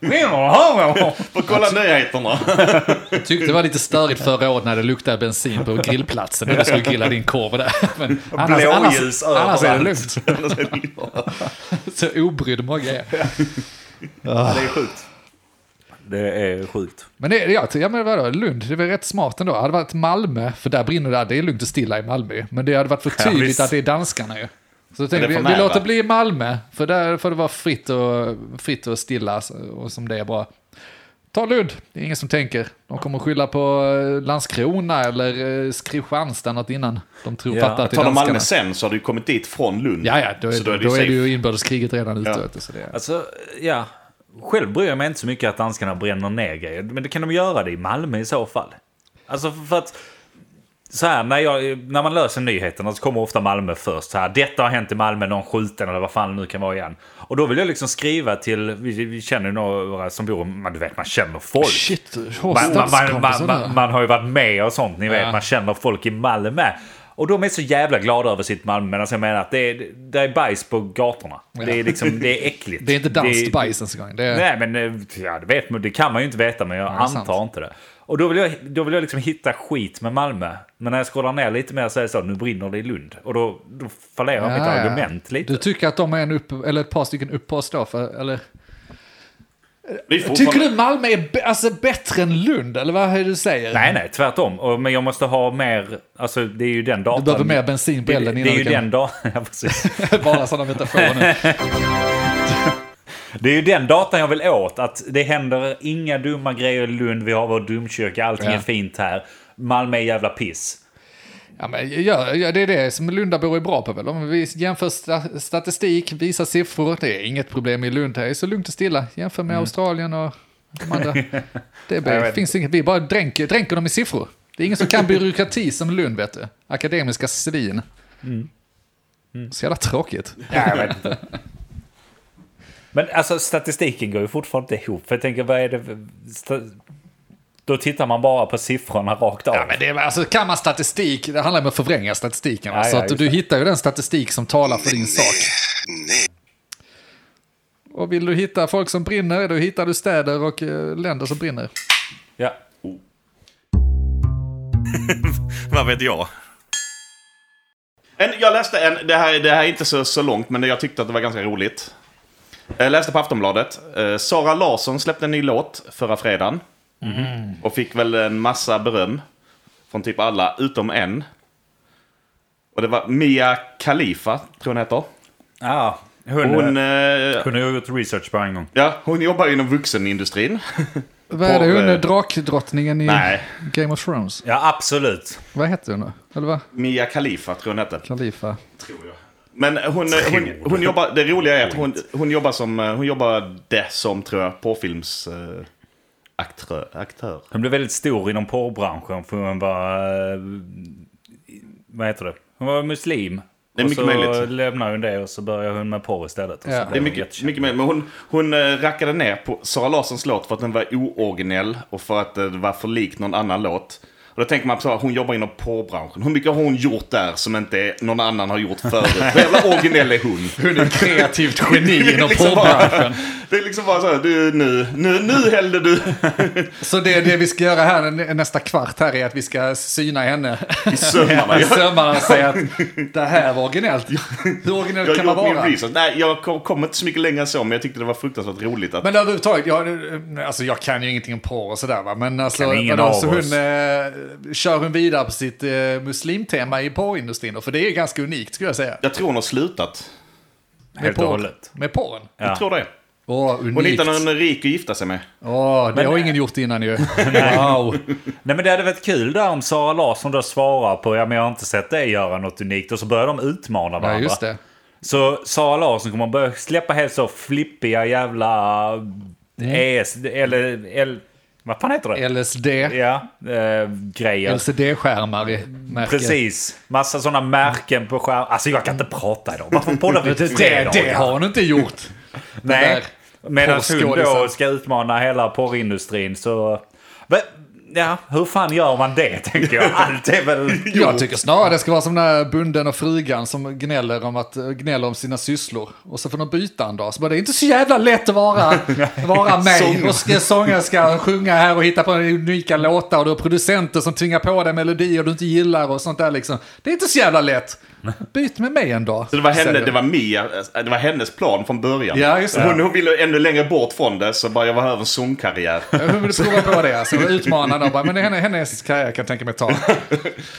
A: Brinner här
D: Får kolla nyheterna.
B: <laughs>
D: <laughs>
B: Jag tyckte det var lite störigt förra året när det luktade bensin på grillplatsen när du skulle grilla din korv där. Men annars,
A: Blåljus
B: annars, annars är det
A: överallt.
B: lugnt. Så obrydd Mogge är.
A: <laughs> Det är sjukt. Det är sjukt.
B: Men det, jag, ja, men vadå, Lund, det var rätt smart ändå. Hade det varit Malmö, för där brinner det, det är lugnt och stilla i Malmö. Men det hade varit för
A: Ja,
B: tydligt
A: visst.
B: att det är danskarna ju. Så jag tänkte,
D: Eller
B: vi,
D: för
B: vi
D: nära.
B: låter bli Malmö, för där får det vara fritt och, fritt och stilla och som det är bra. Ta Lund, det är ingen som tänker. De kommer skylla på eh, Landskrona eller eh, Kristianstad något innan. De tror
A: Ja,
B: fattar att det är
D: Talar Malmö
B: danskarna.
D: sen så har du kommit dit från Lund.
B: Ja, ja, då är,
D: så
B: då är,
D: safe.
B: det ju inbördeskriget redan ute.
D: Ja.
B: vet du, Så det är.
A: Alltså, ja. Själv bryr jag mig inte så mycket att danskarna bränner ner grejer. Men det kan de göra det i Malmö i så fall. Alltså för- för att... Så här, när, jag, när man löser nyheterna så kommer ofta Malmö först. Så här, Detta har hänt i Malmö, någon skjuten eller vad fan det nu kan vara igen. Och då vill jag liksom skriva till, vi, vi känner ju några som bor, man, du vet man känner folk.
B: Shit,
A: Man, man, man, man,
B: stadskompisarna.
A: man, man har ju varit med och sånt, ni vet.
B: Ja.
A: Man känner folk i Malmö. Och de är så jävla glada över sitt Malmö, medan jag menar att det är, det är bajs på gatorna. Det är liksom, det är
B: <laughs>
A: äckligt.
B: Det är inte danskt
A: Det-
B: bajs ens en gång. Det är,
A: Nej, men eh, ja, det, vet, man- det kan man ju inte veta, men jag
B: det är
A: antar inte det. Och då vill, jag, då vill jag liksom hitta skit med Malmö. Men när jag scrollar ner lite mer så är det så, nu brinner det i Lund. Och då, då fallerar mitt
B: Ja, ja.
A: argument lite.
B: Du tycker att de är en upp, eller ett par stycken upppost då? För, eller?
D: Det är fortfarande-
B: Tycker du Malmö är b- alltså bättre än Lund? Eller vad är det du säger?
A: Nej, nej, tvärtom. Och, men jag måste ha mer, alltså det är ju den datan.
B: Du behöver mer bensin på
A: det,
B: elden
A: det,
B: innan
A: det är ju
B: du kan...
A: den datan, <laughs> ja, precis.
B: <laughs> Bara sådana metaforer nu.
A: Det är ju den datan jag vill åt. Att det händer inga dumma grejer i Lund. Vi har vår domkyrka, allting
B: Ja.
A: är fint här. Malmö är jävla piss.
B: Ja, men, ja, ja, det är det som Lundabor är bra på väl? Om vi jämför sta- statistik, visar siffror. Det är inget problem i Lund. Det är så lugnt och stilla. Jämför med Australien och
A: <laughs>
B: de andra. Det är
A: Mm. Jag
B: bara,
A: vet
B: finns inget, vi bara dränker, dränker dem i siffror. Det är ingen
A: <laughs>
B: som kan byråkrati som Lund, vet du. Akademiska svin.
A: Mm.
B: Så jävla tråkigt.
A: Ja, jag vet inte. <laughs> Men alltså statistiken går ju fortfarande inte ihop. För jag tänker, vad är det... för- sta- Då tittar man bara på siffrorna rakt av.
B: Ja, men det, är- alltså, kan man statistik, det handlar om att förvränga statistiken. va?
A: Ja,
B: så
A: ja,
B: att
A: just
B: du hittar ju den statistik som talar för din sak. Och vill du hitta folk som brinner, då hittar du städer och eh, länder som brinner.
A: Ja.
D: Vad vet jag? En, jag läste en, det här, det här är inte så, så långt, men det- jag tyckte att det var ganska roligt. Jag läste på Aftonbladet. Eh, Sara Larsson släppte en ny låt förra fredagen. Och fick väl en massa beröm. Från typ alla, utom en. Och det var Mia Khalifa, tror jag hon heter.
A: Ah, hon,
D: Hon,
A: hon,
D: eh,
A: hon har ju gjort research på en gång.
D: ja, hon jobbar inom vuxenindustrin.
B: Vad är
D: På,
B: det hon,
D: eh,
B: eh, drakdrottningen i
D: Nej,
B: Game of Thrones?
A: Ja, absolut.
B: Vad hette hon då? Eller vad?
D: Mia Khalifa tror jag hon heter.
B: Khalifa?
D: Men hon, hon, hon jobbar, det roliga är att hon, hon jobbar som, eh, hon jobbade som tror jag, påfilms... Eh, aktör, aktör.
A: Hon blev väldigt stor inom porrbranschen för hon var... eh, Vad heter det? Hon var muslim.
D: Det är mycket
A: och så
D: möjligt.
A: lämnade hon det och så började hon med porr istället. Och
B: Ja.
A: så
B: Det
A: blev
D: Det är
A: hon
D: mycket,
A: jättekänd.
D: mycket mer. Men hon, hon eh, rackade ner på Sara Larssons låt för att den var ooriginell och för att eh, det var för lik någon annan låt. Och då tänker man så här, hon jobbar inom porrbranschen. Hur mycket har hon gjort där som inte någon annan har gjort förut? Hur jävla originell är hon?
B: Hon är kreativt
D: <laughs>
B: geni <laughs> inom
D: liksom bara-
B: porrbranschen.
D: Det är liksom bara så här, du, nu, nu, nu hällde du
B: Så det, det vi ska göra här nä- nästa kvart här är att vi ska syna henne <laughs>
D: i sömmarna.
B: i
D: Jag-
B: sömmarna och
D: <laughs>
B: säga att det här var originellt. Hur originellt
D: Jag
B: kan
D: har
B: man
D: gjort min
B: vara?
D: research. Nej, jag kom, kom inte så mycket längre än så, men jag tyckte det var fruktansvärt roligt att...
B: Men överhuvudtaget, jag, alltså jag kan ju ingenting om porr och sådär va. Men alltså,
A: Kan ingen
B: vadå,
A: av
B: så
A: oss.
B: hon, eh, kör hon vidare på sitt eh, muslimtema i porrindustrin då? För det är ganska unikt skulle jag säga.
D: Jag tror hon har slutat.
A: Helt och hållet.
B: Med porren?
A: Ja.
D: Jag tror det.
B: Åh,
D: Hon
B: unikt.
D: hittade någon rik att gifta sig med.
B: Åh, det har ingen gjort innan ju. wow.
A: <laughs> Nej men det hade varit kul där om Sara Larsson då svarar på ja men jag har inte sett dig göra något unikt och så börjar de utmana varandra.
B: Ja, just det.
A: Så Sara Larsson kommer börja släppa helt så flippiga jävla...
B: Mm.
A: ES... Eller... L, vad fan heter det?
B: LSD.
A: Ja, eh, grejer.
B: LCD-skärmar i märket.
A: Precis. Massa sådana märken på skärmen. Alltså jag kan inte prata idag.
B: <laughs>
A: Varför poddar vi
B: Det, det, det har hon inte gjort. Det
A: Nej.
B: där.
A: Medan hon då
B: porrskådisen.
A: ska utmana hela porrindustrin så... Men, ja, hur fan gör man det <laughs> tänker jag? Allt är väl
B: <laughs> Jag tycker snarare det ska vara som den här bunden och frugan som gnäller om, att, gnäller om sina sysslor. Och så får de byta en dag. Så bara, det är inte så jävla lätt att
D: <laughs>
B: vara, vara mig. Och ska, sångare ska sjunga här och hitta på unika låtar. Och du har producenter som tvingar på dig melodier du inte gillar och sånt där liksom. Det är inte så jävla
D: <laughs>
B: lätt. Byt med mig en dag.
D: Så det var, henne,
B: säger
D: det var Mia, eh, det var hennes plan från början.
B: Ja, just det.
D: Hon, hon ville ännu längre bort från det, så bara jag var över
B: <laughs>
D: en zonkarriär.
B: Hon vill prova på det. Alltså,
D: <laughs>
B: utmanande och bara, men det är henne- hennes karriär kan jag tänka mig ta.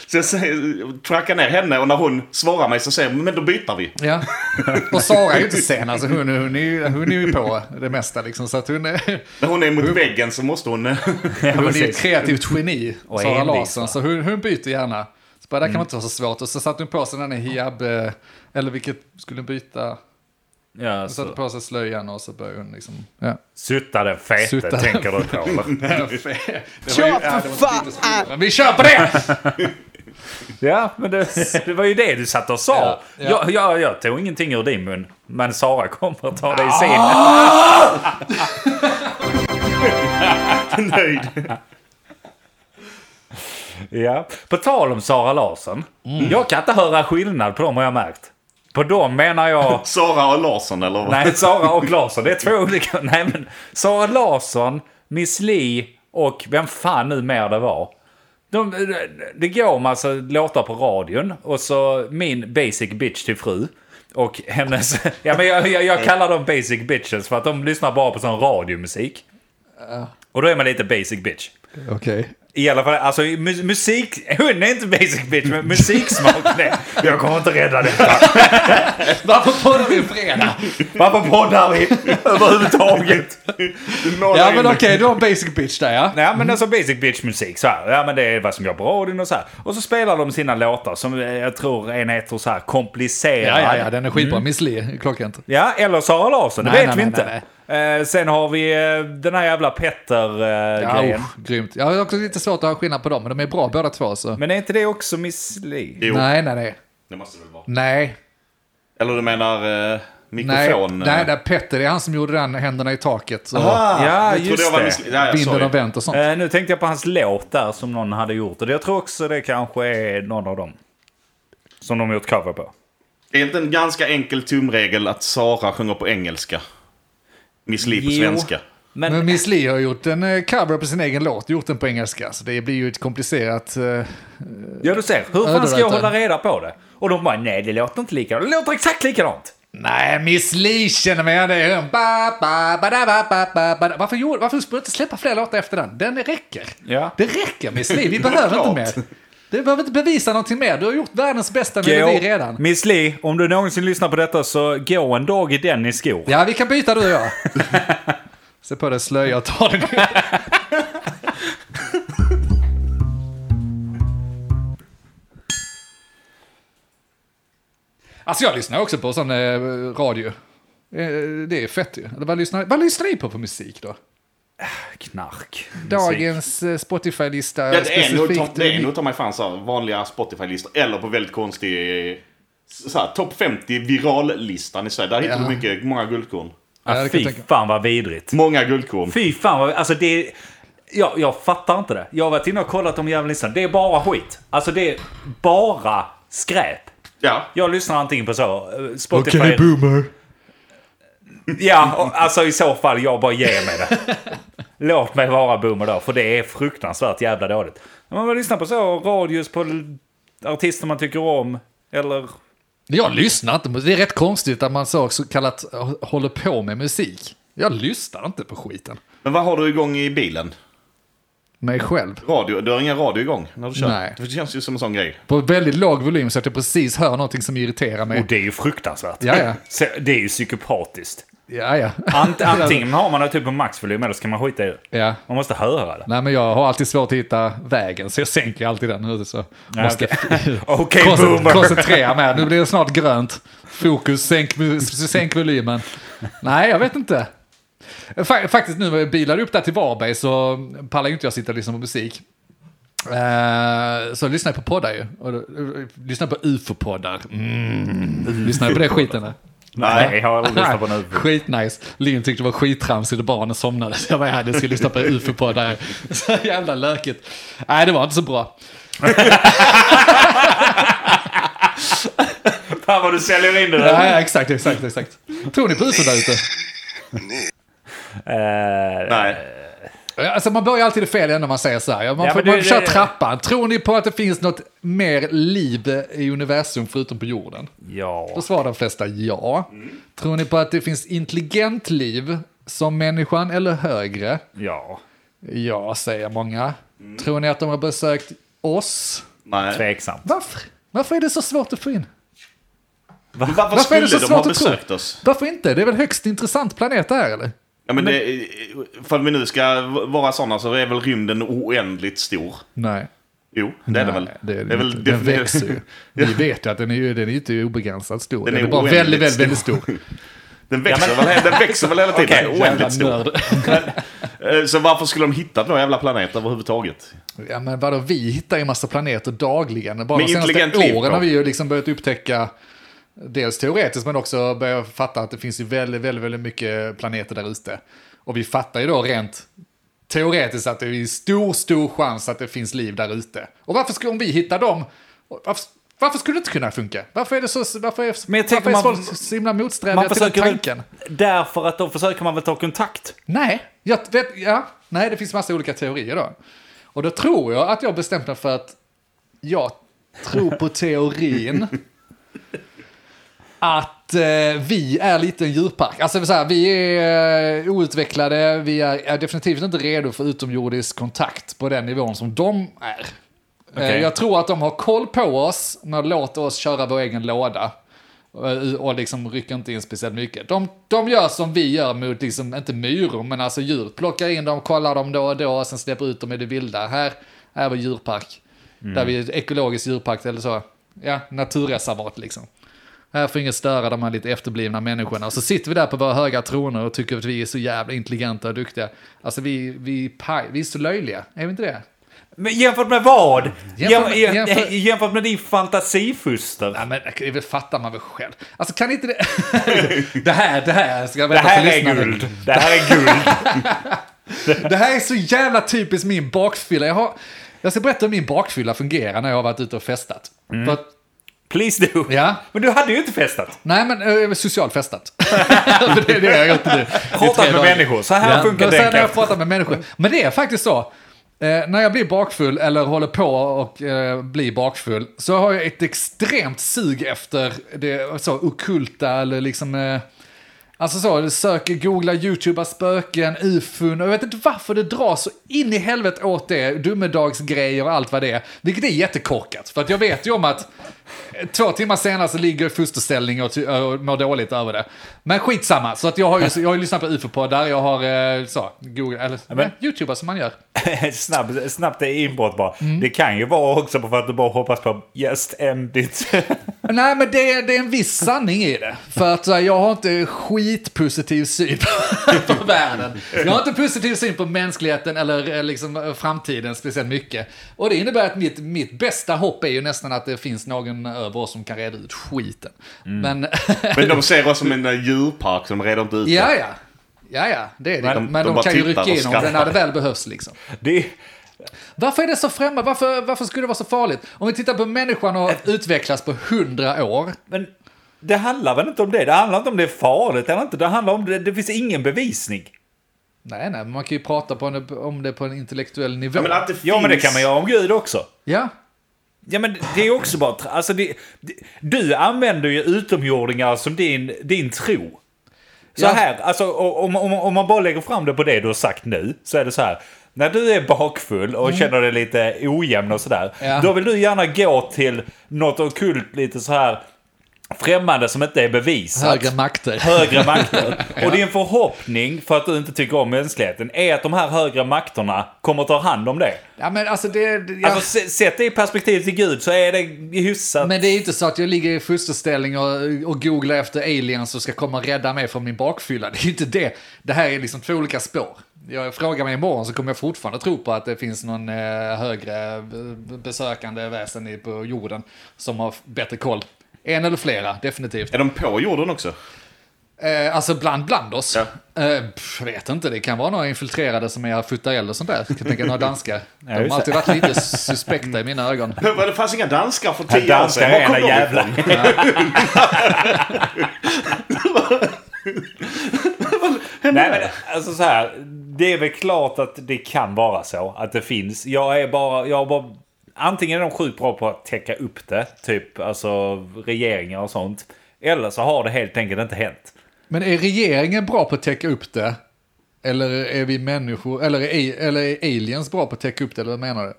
D: Så jag säger, trackar ner henne och när hon svarar mig så säger jag, men då byter vi.
B: Ja. Och Sara är ju inte sen, alltså hon, hon, är, ju- hon är ju på det mesta liksom. Så att hon är,
D: När hon är mot väggen så
B: <laughs>
D: måste hon... <laughs>
B: Ja, men det är ju ett
A: precis.
B: kreativt geni,
A: Och
B: Sara
A: envis,
B: Larsson.
A: va?
B: Så hon, hon byter gärna. Så bara, det kan man inte vara så svårt. Och så satte hon på sig den här hijab, eh, eller vilket skulle hon byta?
A: Ja,
B: Hon satte
A: så,
B: på sig slöjan och så började hon liksom... Ja.
A: sutta den fete
B: Sutta.
A: tänker du på.
B: <laughs>
A: eller?
C: Kör för fan!
B: Men vi kör på det!
A: ja, men det, det var ju det du satt och sa.
B: Ja, ja.
A: Jag, jag, jag tog ingenting ur din mun. Men Sara kommer att ta det i sin.
B: Ah!
D: Nöjd.
A: Ja. På tal om Sara Larsson.
B: Mm.
A: Jag kan inte höra skillnad på dem har jag märkt. På dem menar jag...
D: Sara och Larsson eller?
A: <laughs>
D: vad?
A: Nej, Sara och Larsson. Det är två olika. Nej, men Sara Larsson, Miss Li och vem fan nu mer det var. De, det- det går en massa låtar på radion och så min basic bitch till fru. Och hennes... <laughs> Ja, men jag, jag, jag kallar dem basic bitches för att de lyssnar bara på sån radiomusik. Och då är man lite basic bitch.
B: Okej.
A: I alla fall, alltså mu- musik... <laughs> Hon är inte basic bitch, men musiksmak. Nej, jag kommer inte rädda detta.
B: <laughs> Varför poddar vi fredag?
A: Varför poddar
B: <laughs>
A: vi överhuvudtaget?
B: Ja men okej, du har en basic bitch där ja.
A: Ja men alltså basic bitch musik så här. Ja men det är vad som går på radion och så här. Och så spelar de sina låtar som eh, jag tror en heter så här komplicerad.
B: Ja, ja, ja, den är skitbra. Miss Li, klockrent.
A: Ja, eller Sara Larsson, det
B: Nej,
A: vet
B: nej,
A: vi
B: nej,
A: inte. Eh, sen har vi eh, den här jävla eh,
B: Ja,
A: Petter-grejen.
B: usch, grymt. Jag har också lite svårt att ha skillnad på dem, men de är bra båda två så.
A: men är inte det också Miss Li?
D: Jo,
B: Nej, nej, nej.
D: det måste det väl vara.
B: Nej,
D: Eller du menar eh,
B: nej.
D: mikrofon?
B: Nej,
D: eh,
B: det är Petter, det är han som gjorde den händerna i taket. Och
D: Ah,
A: Ja,
D: jag trodde
A: just
D: jag var
A: det.
D: miss- Ja, ja,
B: binden
D: sorry.
B: och vänt och sånt.
A: Eh, nu tänkte jag på hans låt där som någon hade gjort. Och jag tror också det kanske är någon av dem. Som de har gjort cover på.
D: Det är inte en ganska enkel tumregel att Sara sjunger på engelska? Miss Li på
A: Jo.
D: svenska.
A: Men,
B: Men Miss Li har gjort en eh, cover på sin egen låt, gjort den på engelska. Så det blir ju ett komplicerat... eh,
A: ja du ser, hur fan
B: Ja, det
A: ska
B: vet
A: jag
B: jag.
A: hålla reda på det? Och de bara, nej det låter inte likadant. Det låter exakt likadant.
B: Nej, Miss Li känner mig igen. det är en ba, ba, ba, da, ba, ba, ba, ba, da. Varför, gjorde- varför skulle du inte släppa fler låtar efter den? Den räcker.
A: Ja.
B: Det räcker Miss Li, vi behöver inte
D: klart.
B: mer. Du behöver inte bevisa någonting mer, du har gjort världens bästa melodi redan.
A: Miss Li, om du någonsin lyssnar på detta så gå en dag i den i skor.
B: Ja, vi kan byta du och jag. Se på dig slöja och ta den. Alltså jag lyssnar också på sån eh, radio. Eh, det är fett ju. Eller Vad lyssnar, vad lyssnar ni på för musik då?
A: Knark.
B: Dagens eh, Spotify-lista
D: Ja, det är nog ta-
B: specifikt.
D: det är nog ta mig fan så här, vanliga Spotify-listor. Eller på väldigt konstig... eh, Så här, topp 50 viral-listan i Sverige. Där hittar
B: Ja.
D: du mycket, många guldkorn.
A: Ah,
B: Ja, det kan
A: fy
B: jag tänka.
A: fan vad vidrigt.
D: Många guldkorn.
A: Fy fan vad... Alltså det är... Jag, jag fattar inte det. Jag har varit inne och kollat om jävla listan. Det är bara skit. Alltså det är bara skräp.
D: Ja.
A: Jag lyssnar antingen på så... eh, Spotify...
B: Okej, boomer.
A: Ja, och- alltså i så fall jag bara ger mig det. Låt mig vara boomer då, för det är fruktansvärt jävla dåligt. Men man lyssnar på så radios på l- artister man tycker om, eller...
B: Jag lyssnar inte, men det är rätt konstigt att man så, så kallat h- håller på med musik. Jag lyssnar inte på skiten.
D: Men vad har du igång i bilen?
B: Mig själv.
D: Radio? Du har ingen radio igång när du kör?
B: Nej.
D: Det känns ju som en sån grej.
B: På väldigt låg volym så att jag precis hör någonting som irriterar mig.
A: Och det är ju fruktansvärt.
B: Ja, ja.
A: Så det är ju psykopatiskt.
B: Ja, ja.
A: Ant, antingen har man det typ på maxvolym eller så kan man skita i det.
B: <laughs> ja.
A: Man måste höra det.
B: Nej, men jag har alltid svårt att hitta vägen, så jag sänker alltid den nu. Så måste <laughs>
A: Okej,
B: koncent-
A: boomer.
B: koncentrera mig. Nu blir det snart grönt. Fokus, sänk, mu- sänk volymen. Nej, jag vet inte. Fa- Faktiskt nu när jag bilade upp där till Varberg så pallar ju inte jag sitta och lyssna på musik. Eh, Så lyssnar jag på poddar ju. Och då- eh, Lyssnar på ufo-poddar. Mm. Lyssnar jag på det skiten? där?
A: Nej, jag har aldrig lyssnat på
B: <laughs>
A: en UFO.
B: Skitnice. Linn tyckte det var skittramsigt och barnen somnade. Så jag var här, du ska lyssna på UFO på där. Så jävla lökigt. Nej, det var inte så bra.
A: Fan vad du säljer in det
B: Ja,
A: där.
B: ja, exakt, exakt, exakt. Tror ni på UFO där ute?
A: Eh,
D: Nej.
B: Alltså man börjar alltid i fel ände när man säger så här. Ja, Man,
A: Ja,
B: får,
A: men det-
B: man kör
A: det-
B: trappan. Tror ni på att det finns något mer liv i universum förutom på jorden? Då
A: ja.
B: svarar de flesta ja. Tror ni på att det finns intelligent liv som människan eller högre?
A: Ja.
B: Ja, säger många. Tror ni att de har besökt oss?
D: Nej.
A: Tveksamt.
B: Varför? Varför är det så svårt att få in?
D: Men Varför
B: Varför är
D: skulle
B: det så
D: de ha
B: svårt att tro?
D: besökt oss?
B: Varför inte? Det är väl högst intressant planet det här eller?
D: Ja, men det, för att vi nu ska vara sådana så är väl rymden oändligt stor?
B: Nej.
D: Jo, det är det väl.
B: Nej, Det är
D: Det är väl
B: väl, den
D: definitivt-
B: växer ju. Vi vet ju att den är, ju- den är ju inte obegränsat stor. Den,
D: är
B: är bara
D: oändligt
B: väldigt, väldigt, väldigt stor.
D: <laughs> Den växer,
A: Ja, men-
D: väl, den växer väl hela tiden?
A: <laughs> Okej,
D: oändligt stor.
B: Jävla nörd.
D: Eh, Så varför skulle de hitta några jävla planet överhuvudtaget?
B: Ja men vadå, vi hittar ju massa planeter dagligen. Bara
D: Men
B: de senaste
D: intelligent liv
B: åren
D: då?
B: har vi ju liksom börjat upptäcka, dels teoretiskt men också börjat fatta att det finns ju väldigt, väldigt, väldigt mycket planeter där ute. Och vi fattar ju då rent teoretiskt att det är stor, stor chans att det finns liv där ute. Och varför skulle, om vi hittar dem, varför, varför skulle det inte kunna funka? Varför är det så, varför är,
A: Men jag tänker
B: varför är
A: man-
B: folk så himla motsträviga
A: Man
B: till den
A: försöker
B: tanken?
A: väl, därför att då försöker man väl ta kontakt.
B: Nej, jag vet, ja, nej, det finns massa olika teorier då. Och då tror jag att jag bestämt mig för att jag tror på teorin att eh, vi är lite en djurpark. Alltså så här, vi är eh, outvecklade, vi är, är definitivt inte redo för utomjordisk kontakt på den nivån som de är.
A: Okej.
B: Eh, jag tror att de har koll på oss, men låter oss köra vår egen låda. Eh, Och liksom rycker inte in speciellt mycket. De, de gör som vi gör mot, liksom, inte myror, men alltså djur. Plockar in dem, kollar dem då och då, och sen släpper ut dem i det vilda. Här är vår djurpark. Där vi är ekologisk djurpark eller så. Ja, naturreservat liksom. Här får ingen störa de här lite efterblivna människorna. Och så sitter vi där på våra höga troner och tycker att vi är så jävla intelligenta och duktiga. Alltså vi, vi, är paj, vi är så löjliga, är vi inte det?
A: Men jämfört med vad?
B: Jämfört
A: Jämfört, <laughs>
B: med-
A: jämfört,
B: jämfört-
A: med din fantasifuster.
B: Ja, men det det fattar man väl själv. Alltså kan inte det... <laughs> det här, det här ska jag
A: Det
B: berätta
A: här
B: för
A: är
B: lyssnarna.
A: guld. Det här är <laughs> guld.
B: Det här är så jävla typiskt min bakfylla. Jag, har, jag ska berätta hur min bakfylla fungerar när jag har varit ute och festat.
A: Mm.
B: För att,
A: Please do.
B: ja,
A: Men du hade ju inte festat.
B: nej men eh, socialt festat. <laughs> För det är det jag har gjort nu. i tre
A: Pratat med
B: dagar.
A: människor. Så här funkar
B: men sen
A: det.
B: när jag
A: kanske.
B: pratar med människor. Men det är faktiskt så. Eh, när jag blir bakfull eller håller på och eh, blir bakfull så har jag ett extremt sug efter det så okulta eller liksom... Eh, alltså så, söker, googla, youtubea spöken, ufon och jag vet inte varför det dras så in i helvete åt det. Dummedagsgrejer och allt vad det är. Vilket är jättekorkat. För att jag vet ju om att Två timmar senare så ligger jag i fosterställning och, ty- och mår dåligt över det. Men skitsamma, så att jag har ju jag har ju lyssnat på ufo-poddar, jag har eh, så, Google, eller nej, YouTuber som man gör.
A: <laughs> Snabbt, snabbt är inbrott bara. Det kan ju vara också för att du bara hoppas på just end it.
B: Nej, men det, det är en viss sanning i det. För att så här, jag har inte skitpositiv syn på, <laughs> på världen. Jag har inte positiv syn på mänskligheten eller eh, liksom, eh, framtiden speciellt mycket. Och det innebär att mitt, mitt bästa hopp är ju nästan att det finns någon över oss som kan reda ut skiten. Men, <laughs>
D: Men de ser oss som en eh, djurpark som reder inte ut det.
B: ja, ja. Ja, ja, det är det.
D: Men
B: Men,
D: de-
B: de,
D: de bara
B: kan ju
D: tittar
B: rycka
D: och
B: in om det när
D: skrattar.
B: det väl behövs liksom.
A: <laughs> Det är,
B: Varför är det så främmande? Varför, varför skulle det vara så farligt? Om vi tittar på människan och utvecklas på hundra år.
A: men det handlar väl inte om det? Det handlar inte om det är farligt eller inte. Det handlar om det. Det finns ingen bevisning.
B: Nej, nej, men man kan ju prata på en, om det på en intellektuell nivå.
D: Ja, men att det finns...
A: Ja, men det kan man göra om Gud också.
B: Ja,
A: Ja men det är också bara, tra- alltså det, det, du använder ju utomjordingar som din, din tro. Så
B: Ja.
A: här, alltså o- om, om, om man bara lägger fram det på det du har sagt nu, så är det så här. När du är bakfull och känner dig lite ojämn och sådär,
B: Mm. Ja.
A: då vill du gärna gå till något ockult lite så här främmande som inte är bevisat.
B: Högre makter.
A: högre
B: <laughs>
A: makter. Och din förhoppning för att du inte tycker om mänskligheten är att de här högre makterna kommer ta hand om det.
B: Ja, men alltså det... Ja.
A: Alltså, se- sett det i perspektivet till Gud så är det hyfsat...
B: men det är inte så att jag ligger i fosterställning och, och googlar efter aliens som ska komma och rädda mig från min bakfylla. Det är ju inte det. Det här är liksom två olika spår. Jag frågar mig imorgon så kommer jag fortfarande tro på att det finns någon eh, högre b- besökande väsen i- på jorden som har bättre koll. En eller flera, definitivt.
D: Är de på jorden också?
B: Eh, alltså bland, bland oss? Eh, pff, vet inte, det kan vara några infiltrerade som är futtaell och sånt där. Jag kan tänka
A: <laughs>
B: några danskar. De har
A: just
B: alltid
A: det.
B: varit lite suspekta i mina ögon.
D: Vad, Det fanns inga danskar för
A: Här
D: tio år
A: danskar
D: sedan.
A: är
D: Var
A: ena
D: kom de
A: jävla...
B: <laughs>
D: ifrån?
A: Nej men alltså så här. Det är väl klart att det kan vara så. Att det finns. Jag är bara... Jag har bara antingen är de sjukt bra på att täcka upp det. Typ alltså regeringar och sånt. Eller så har det helt enkelt inte hänt.
B: Men är regeringen bra på att täcka upp det? Eller är vi människor, eller är, eller är aliens bra på att täcka upp det, eller vad menar du?
A: Ja,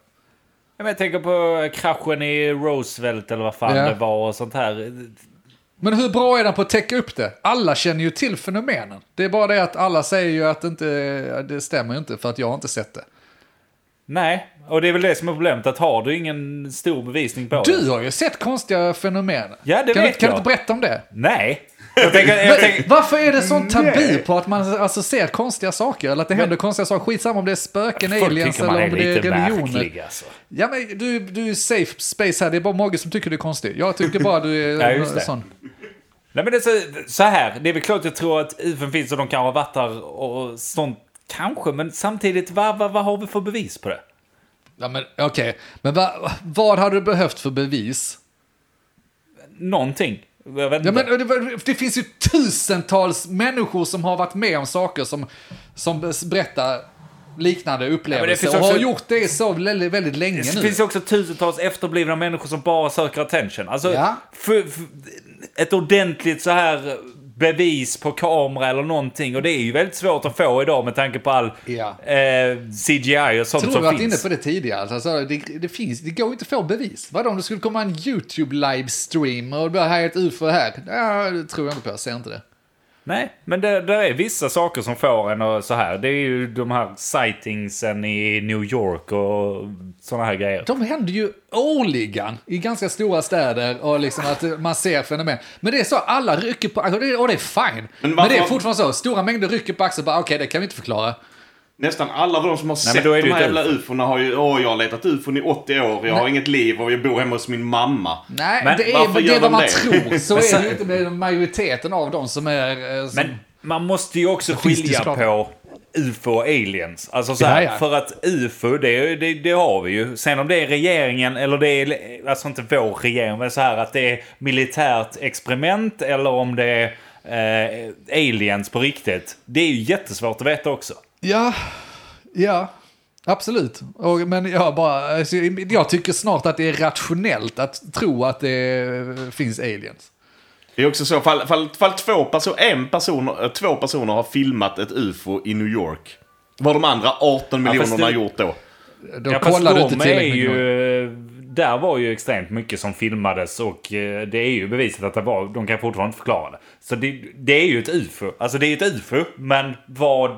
A: men Jag tänker på kraschen i Roosevelt eller vad fan
B: Ja.
A: det var och sånt här.
B: Men hur bra är den på att täcka upp det? Alla känner ju till fenomenen. Det är bara det att alla säger ju att det inte, det stämmer ju inte för att jag har inte sett det.
A: Nej, och det är väl det som är problemet. Att har du ingen stor bevisning på det.
B: Du har ju sett konstiga fenomen.
A: Ja, det
B: kan
A: vet
B: du, kan
A: jag.
B: du inte berätta om det? <laughs>
A: Nej. Jag tänker, jag tänker, Mm,
B: Varför är det sån tabu på att man alltså ser konstiga saker? Eller att det händer konstiga saker? Skitsamma om det är spöken,
A: folk
B: aliens
A: tycker
B: eller
A: man
B: alltså, om
A: är
B: det är
A: lite
B: religioner.
A: märklig alltså.
B: Ja, men du, du är safe space här. Det är bara Mogge som tycker du är konstig. Jag tycker bara du
A: <laughs> Ja,
B: är
A: just det.
B: sån.
A: Nej men det är så, så här, det är väl klart jag tror att UFOn finns och de kan ha varit där och sånt. Kanske, men samtidigt, vad, vad, vad har vi för bevis på det?
B: Ja, men okej. Men va, vad hade du behövt för bevis?
A: Någonting. Jag vet inte.
B: Ja, men det, var- det finns ju tusentals människor som har varit med om saker som, som berättar liknande
A: finns
B: upplevelser och
A: också-
B: har gjort det så väldigt, väldigt länge
A: det
B: nu.
A: finns också tusentals efterblivna människor som bara söker attention. Alltså,
B: Ja.
A: för, för, ett ordentligt så här bevis på kamera eller någonting. Och det är ju väldigt svårt att få idag med tanke på all
B: Ja.
A: eh, CGI och sånt
B: Jag tror
A: som
B: vi har varit
A: finns.
B: inne på det tidigare. Alltså, det, det, finns, det går inte att få bevis. Vadå om det skulle komma en YouTube-livestream och det bara här är ett ufo här? Ja, det tror jag inte på, jag ser inte det.
A: Nej, men det, det är vissa saker som får en och så här. Det är ju de här sightingsen i New York och sådana här grejer.
B: De händer ju årligen i ganska stora städer och liksom att man ser fenomen. Men det är så, alla rycker på axeln och det- och det är fine. Men,
D: varför-
B: det är fortfarande så, stora mängder rycker på axeln bara okej, det kan vi inte förklara.
D: Nästan alla av de som
A: men
D: har sett
A: då är det
D: de
A: ju
D: här
A: ett
D: jävla ufona har ju, åh jag har letat ufon i 80 år, jag har inget liv och jag bor hemma hos min mamma.
B: Nej,
A: Men
B: det
D: varför
B: är, det
D: gör
B: är vad
D: de
B: man
D: det?
B: tror. Så
A: Men <laughs>
B: är
A: sen-
B: det ju inte med majoriteten av dem som är... eh, Som,
A: Men man måste ju också
B: finns det
A: skilja
B: såklart.
A: på UFO och aliens. Alltså så här,
B: Ja, ja.
A: för att UFO, det, det, det har vi ju. Sen om det är regeringen eller det är, alltså inte vår regering, men så här att det är militärt experiment eller om det är eh, aliens på riktigt. Det är ju jättesvårt att veta också.
B: Ja, ja. Absolut. Och, men jag, bara, alltså, jag tycker snart att det är rationellt att tro att det finns aliens.
D: Det är också så, fall, fall, fall två, perso en person, eh, två personer har filmat ett ufo i New York. Vad de andra 18 miljonerna
A: det-
D: gjort då?
B: Då
A: Ja, fast
B: kollar du
A: de
B: inte
A: är
B: tillräckligt mycket.
A: ju, Där var ju extremt mycket som filmades och eh, det är ju beviset att det var, de kan fortfarande inte förklara det. Så det, det är ju ett UFO. Alltså det är ett UFO, men vad...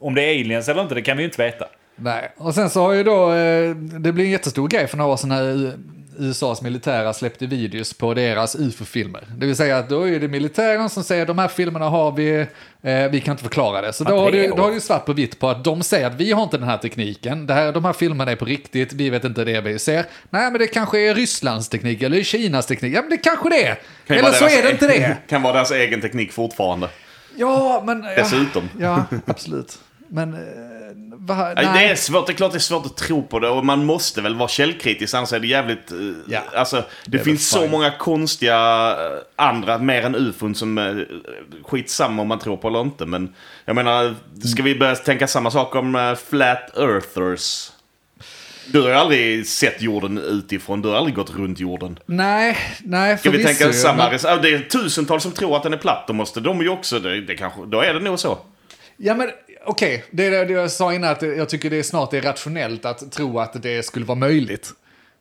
A: Om det är aliens eller inte, det kan vi ju inte veta.
B: Nej, och sen så har ju då, eh, det blev en jättestor grej för några år sedan när U- USAs militära släppte videos på deras ufo-filmer. Det vill säga att då är det militären som säger de här filmerna har vi, eh, vi kan inte förklara det. Så då
A: Att
B: har,
A: det
B: du,
A: är-
B: då har du svart på vitt på att de säger att vi har inte den här tekniken, det här, de här filmerna är på riktigt, vi vet inte det vi ser. Nej men det kanske är Rysslands teknik eller Kinas teknik, ja men det kanske det är.
D: Kan ju
B: Eller
D: vara
B: så
D: deras
B: är det inte
D: egen-
B: det.
D: <laughs> Kan vara deras egen teknik fortfarande.
B: Ja men... ja.
D: Dessutom.
B: Ja, absolut. Men... eh, va,
D: Nej.
B: nej.
D: Det är svårt, det är klart det är svårt att tro på det och man måste väl vara källkritisk annars är det jävligt... eh,
B: Ja.
D: Alltså, det,
B: är
D: finns
B: väl
D: så
B: fine.
D: många konstiga eh, andra, mer än ufon, som eh, skitsamma om man tror på eller inte. Men jag menar, ska vi börja tänka samma sak om eh, flat earthers? Du har ju aldrig sett jorden utifrån, du har aldrig gått runt jorden.
B: Nej, nej,
D: Ska vi
B: förvisso
D: tänka
B: ju,
D: samma...
B: men-
D: res- ah, Det är tusentals som tror att den är platt, då måste de ju också... Det, det kanske, då är det nog så.
B: Ja, men okej, det är det jag sa innan att jag tycker det är snart det är rationellt att tro att det skulle vara möjligt.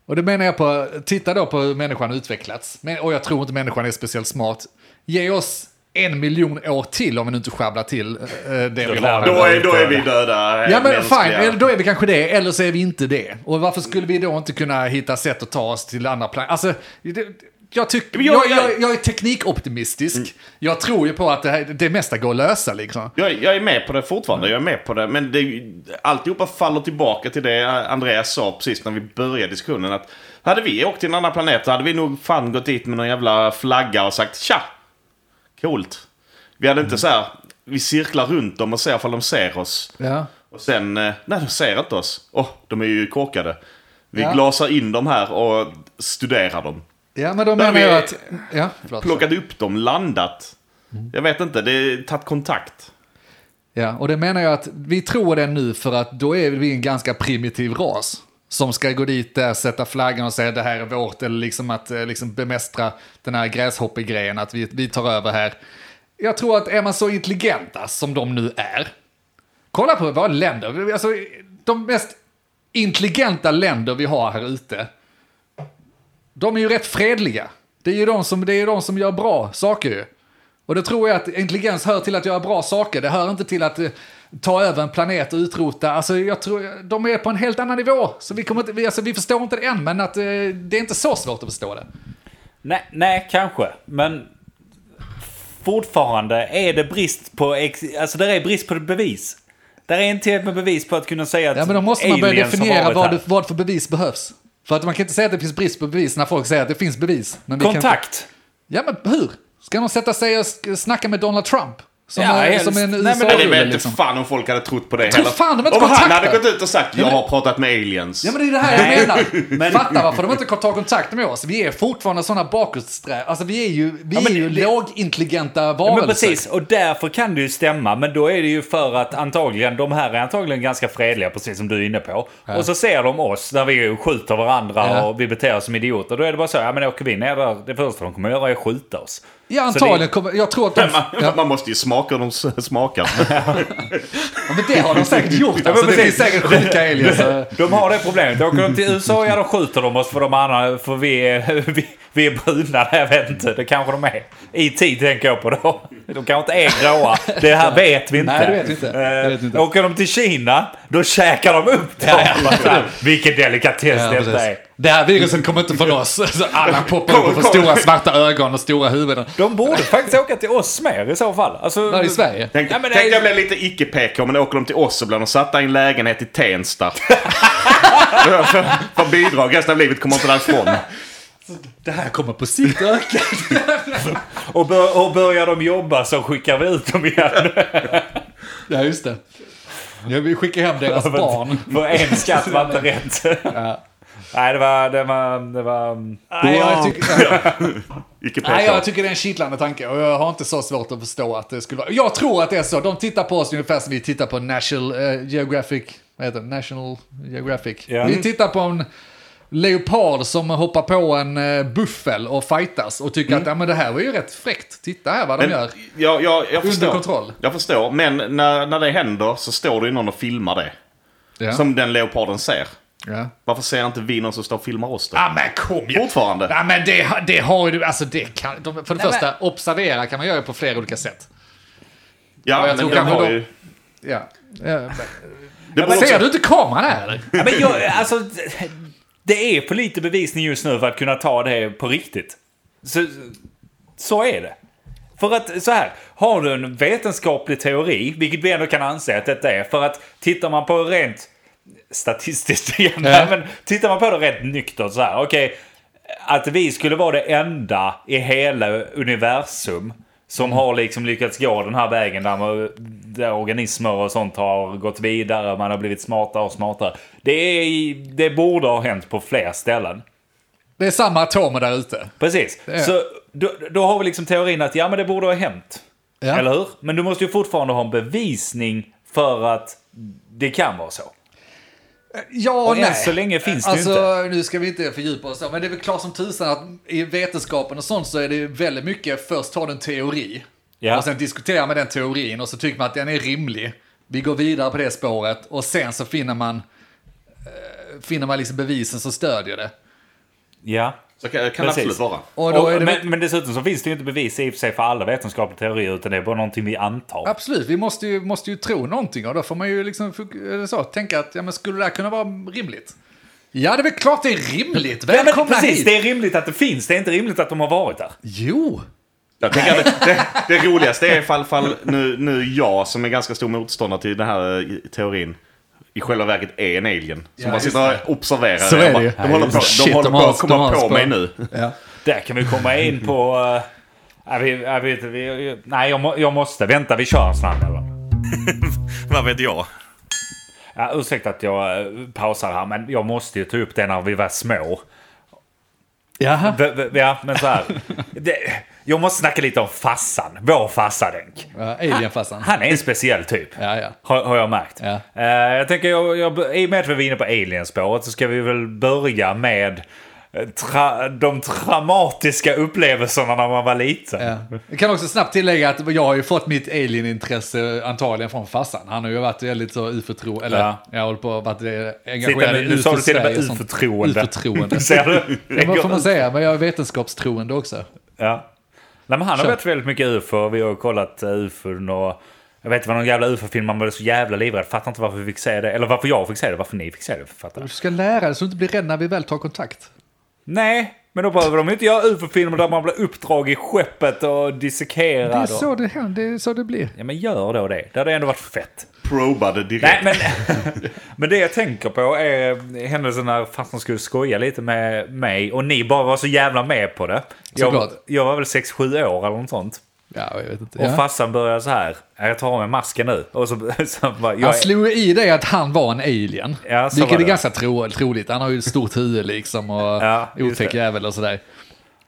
B: Och det menar jag på, titta då på hur människan har utvecklats. Men, och jag tror inte människan är speciellt smart. Ge oss en miljon år till om vi nu inte sjabblar till eh, det vi
A: lär
B: har.
A: vi
D: Då är, då är vi döda. eh,
B: Ja men
D: mänskliga.
B: fine, eller då är vi kanske det, eller så är vi inte det. Och varför skulle vi då inte kunna hitta sätt att ta oss till andra planeter? Alltså, det, jag, tycker,
D: Men jag- Mm.
B: jag, jag, jag är teknikoptimistisk. Jag tror ju på att det, här, det mesta går att lösa liksom.
D: Jag, är- jag är med på det fortfarande, jag är med på det. Men det, är ju- alltihopa faller tillbaka till det Andreas sa precis när vi började diskussionen. Att hade vi åkt till en annan planet så hade vi nog fan gått dit med någon jävla flagga och sagt tja! Coolt. Vi hade inte så här, vi cirklar runt dem och ser ifall de ser oss.
B: Ja.
D: Och sen, eh, nej de ser inte oss. Åh, de är ju korkade. Vi
B: Ja.
D: glasar in dem här och studerar dem.
B: ja, men då
D: Där
B: menar
D: vi-
B: jag att... Ja, förlåt.
D: Plockat upp dem, landat. Jag vet inte, det är tagit kontakt.
B: Ja, och det menar jag att vi tror det nu för att då är vi en ganska primitiv ras. Som ska gå dit där, sätta flaggan och säga det här är vårt. Eller liksom att eh, liksom bemästra den här gräshoppegrejen, att vi, vi tar över här. Jag tror att är man så intelligenta som de nu är. Kolla på våra länder. Alltså, de mest intelligenta länder vi har här ute. De är ju rätt fredliga. Det är ju de som, det är ju de som gör bra saker ju. Och då tror jag att intelligens hör till att göra bra saker. Det hör inte till att eh, ta över en planet och utrota. Alltså jag tror, de är på en helt annan nivå. Så vi, kommer inte, vi, alltså, vi förstår inte det än, men att, eh, det är inte så svårt att förstå det.
A: Nej, nej, kanske. Men fortfarande är det brist på... Ex- alltså där är brist på bevis. Där är inte helt med bevis på att kunna säga att
B: Ja, men då måste man börja
A: aliens har
B: definiera
A: varit
B: vad,
A: här.
B: det- vad för bevis behövs. För att man kan inte säga att det finns brist på bevis när folk säger att det finns bevis. Men vi kan inte-
A: Kontakt!
B: Ja, men hur? Ska de sätta sig och sk- snacka med Donald Trump? Som,
A: Ja,
B: är,
A: helst.
B: som är en
A: Nej, men
B: USA
A: det
D: Men det
A: Tror
D: vet
B: -rulle,
D: inte
B: liksom.
D: fan om folk hade trott på det
B: Tror fan de inte
D: Om han
B: kontaktar.
D: hade gått ut och sagt jag
B: men-
D: har pratat med aliens. <laughs>
B: Ja, men det är det här jag menar.
A: men-
B: Fatta varför de inte tar kontakt med oss. Vi är fortfarande sådana bakåtsträvare. Alltså vi är ju, vi
A: men
B: är ju
A: det-
B: lågintelligenta
A: Ja,
B: varelser.
A: men precis, och därför kan det ju stämma. Men då är det ju för att antagligen, de här är antagligen ganska fredliga, precis som du är inne på. Och så ser de oss när vi skjuter varandra
B: Ja.
A: och vi beter oss som idioter. Då är det bara så, ja men åker vi ner där, det första de kommer göra är att skjuta oss.
B: Ja,
A: Så
B: antagligen kommer... Jag tror att de...
D: man,
B: Ja,
D: man måste ju smaka hur de s- smakar.
B: men det har
A: <laughs>
B: de säkert gjort. Alltså, det
A: precis.
B: finns säkert
A: <laughs>
B: sjuka aliens.
A: Det, de har det problemet. Åker de till USA, ja då skjuter de oss för de andra, för vi är, <laughs> vi, vi är bruna. Jag vet inte, det kanske de är. I tid tänker jag på då. De kanske inte är gråa. Det här vet vi inte.
B: Nej, det vet vi inte. Det vet vi inte.
A: Eh, åker de till Kina, då käkar de upp dem. Så här, Vilken delikatess
B: Ja,
A: detta är.
B: precis. Det här viruset kommer inte från oss. Så alla poppar upp och får
D: kom.
B: stora svarta ögon och stora huvuden.
A: De borde faktiskt åka till oss mer i så fall. Alltså,
B: Där i Sverige.
D: Tänk,
A: Ja, men det
D: tänk
A: är-
D: jag blir lite icke-PK men åker de till oss så blir de satta i en lägenhet
B: <laughs>
D: i Tensta. för, för bidrag resten av livet kommer inte därifrån.
B: Det här kommer på sikt öka.
A: Och, bör, och börjar de jobba så skickar vi ut dem igen.
B: Ja, just det. Ja, vi skickar hem deras <laughs> barn.
A: För en skatt var inte rätt. Nej, det var... Det var, det var
B: Nej, jag tycker...
D: Icke-PK.
B: Nej, jag tycker det är en kittlande tanke och jag har inte så svårt att förstå att det skulle vara... Jag tror att det är så. De tittar på oss ungefär som vi tittar på National eh, Geographic... Vad heter det? National Geographic.
A: Ja.
B: Vi tittar på en leopard som hoppar på en eh, buffel och fightas och tycker att ja, men det här var ju rätt fräckt. Titta här vad de
D: Men
B: gör.
D: jag, jag, jag förstår.
B: kontroll.
D: Jag förstår, men när, när det händer så står det ju någon och filmar det.
B: Ja.
D: Som den leoparden ser.
B: Ja.
D: Varför ser inte vi någon som står och filmar oss då?
B: Ah, Ja men kom igen.
D: Fortfarande.
B: Ja, men det, det har ju du, alltså det kan, de, för det
A: Nej,
B: första, observera kan man göra på flera olika sätt. jag
D: Ja, men
B: tror
D: den
B: kanske
D: har
B: de-
D: ju...
B: Ja. Ja, men-
D: Det beror också-
B: Ser du inte kameran här eller?
A: Ja, men jag, alltså, det är för lite bevisning just nu för att kunna ta det på riktigt. Så, så är det. För att så här, har du en vetenskaplig teori, vilket vi ändå kan anse att detta är, för att tittar man på rent statistiskt <laughs> igen,
B: Ja.
A: men tittar man på det rent nyktert så här, okej, att vi skulle vara det enda i hela universum som har liksom lyckats gå den här vägen där, man, där organismer och sånt har gått vidare, man har blivit smartare och smartare. Det, är, det borde ha hänt på fler ställen.
B: Det är samma atomer där ute.
A: Precis.
B: är-
A: Så då, då har vi liksom teorin att ja, men det borde ha hänt.
B: Ja.
A: Eller hur? Men du måste ju fortfarande ha en bevisning för att det kan vara så.
B: Ja och
A: Och än
B: nej.
A: så länge finns det ju
B: alltså, nu ska vi inte fördjupa oss så, men det är väl klart som tusan att i vetenskapen och sånt så är det ju väldigt mycket, först har du en teori,
A: Ja.
B: och sen diskuterar man den teorin och så tycker man att den är rimlig. Vi går vidare på det spåret och sen så finner man, eh, finner man liksom bevisen som stödjer det.
A: Ja.
D: Så kan, kan det
A: Precis.
D: absolut vara.
B: Och då är det väl-
A: men, men dessutom så finns det ju inte bevis i och för sig för alla vetenskapliga teorier utan det är bara någonting vi antar.
B: Absolut, vi måste ju, måste ju tro någonting och då får man ju liksom fok- eller så, tänka att ja, men skulle det här kunna vara rimligt? Ja, det är väl klart det är rimligt.
A: Ja, men
B: Välkomna
A: precis,
B: hit!
A: det är rimligt att det finns. Det är inte rimligt att de har varit där.
B: Jo!
D: Jag tänker att det, det, det roligaste är ifall, ifall nu, nu jag, som är ganska stor motståndare till den här eh, teorin, i själva verket är en alien. Som
B: Ja,
D: bara
B: just
D: sitter och observerar.
B: Så
D: Jag
B: är det
D: bara,
B: ju.
D: De håller på,
B: Shit,
D: de håller
B: de
D: på
B: har-
D: att komma
B: de har
D: på
B: spö.
D: mig nu.
B: Ja.
A: Där kan vi komma in på... eh, ja, vi, jag vet, vi, nej, jag, må, jag måste. Vänta, vi kör en snabb eller?
D: Vad vet jag?
A: Ja, ursäkta att jag eh, pausar här, men jag måste ju ta upp det när vi var små.
B: Jaha.
A: V- v- Ja, men så här. Det, jag måste snacka lite om Fassan, vår Fassadänk.
B: Ja, Alienfarsan.
A: Han är en speciell typ.
B: Ja, ja.
A: Har, har jag märkt.
B: Ja.
A: Eh, jag tänker, jag, jag, i och med att vi var inne på alienspåret så ska vi väl börja med eh, tra, de traumatiska upplevelserna när man var liten.
B: Ja. Jag kan också snabbt tillägga att jag har ju fått mitt alienintresse antagligen från farsan. Han har ju varit väldigt så ufo-tro, eller
A: Ja.
B: jag håller på att vara
A: Titta,
B: engagerad
A: nu, nu sa du till och med
B: UFO-Sverige och sånt.
A: uförtroende. <laughs>
B: UFO-troende.
A: Ser du?
B: Ja, vad får man säga? Men jag är vetenskapstroende också.
A: Ja. Nej, men han har
B: Kör.
A: varit väldigt mycket ufo. Vi har kollat eh, ufon och... Jag vet inte vad någon jävla ufo-film man blev så jävla livrädd. Fattar inte varför vi fick se det. Eller varför jag fick se det. Varför ni fick se det. Fattar.
B: Du ska lära dig så du inte blir rädd när vi väl tar kontakt.
A: Nej, men då behöver de ju inte göra ufo-filmer där man blir uppdrag i skeppet och
B: Det är
A: dissekerad. Och...
B: så det, händer, det, är så det blir.
A: Ja, men gör då det. Det hade ändå varit fett.
D: Probade direkt.
A: Nej, men, men <laughs> det jag tänker på är eh, händelsen när farsan skulle skoja lite med mig och ni bara var så jävla med på det. Jag,
B: Såklart.
A: jag var väl 6-7 år eller något sånt.
B: Ja, jag vet inte.
A: Och
B: Ja.
A: farsan börjar så här. "Ja, Jag tar av mig masken nu. Och så, <laughs> så bara, jag,
B: Han
A: är-
B: slog i dig att han var en alien.
A: Ja, så var
B: vilket
A: det.
B: är ganska tro, troligt. Han har ju ett stort huvud liksom och
A: Ja, just
B: otäck
A: det.
B: jävel och sådär.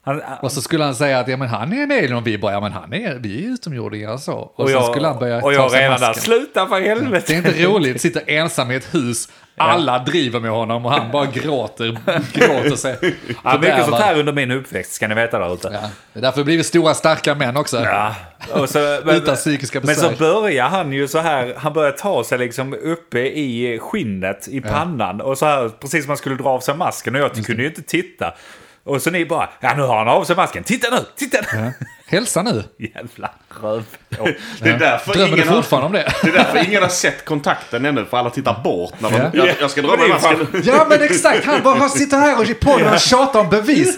A: han, han-
B: Och så skulle han säga att ja, men han är en alien och vi bara ja, men han är, vi är utomjordingar och så. Och,
A: och
B: sen
A: jag,
B: skulle han börja
A: och
B: ta
A: jag
B: sig
A: redan där.
B: masken.
A: Sluta för helvete.
B: Det är inte roligt, sitter ensam i ett hus, alla driver med honom och han bara gråter, gråter sig.
A: <laughs> Ja, mycket
B: fördärvad.
A: sånt här under min uppväxt ska ni veta där ute.
B: Ja, det är därför blir vi stora starka män också.
A: Ja. Och
B: <laughs>
A: så,
B: Utan psykiska
A: Men så
B: besvär.
A: börjar han ju så här, han börjar ta sig liksom uppe i skinnet, i pannan och så här, precis som han skulle dra av sig masken och jag kunde ju inte titta. Och så ni bara, ja nu har han av sig masken, titta nu, titta nu!
B: Hälsa nu.
A: <laughs> Jävla röv. <laughs>
D: det, är därför
B: Drömmer du
D: ingen har,
B: fortfarande om det?
D: det är därför ingen har sett kontakten ännu, för alla tittar bort. När de,
B: Ja.
D: jag, jag ska dra mig masken. <laughs>
B: Ja men exakt, han bara han sitter här och i podden och tjatar om bevis.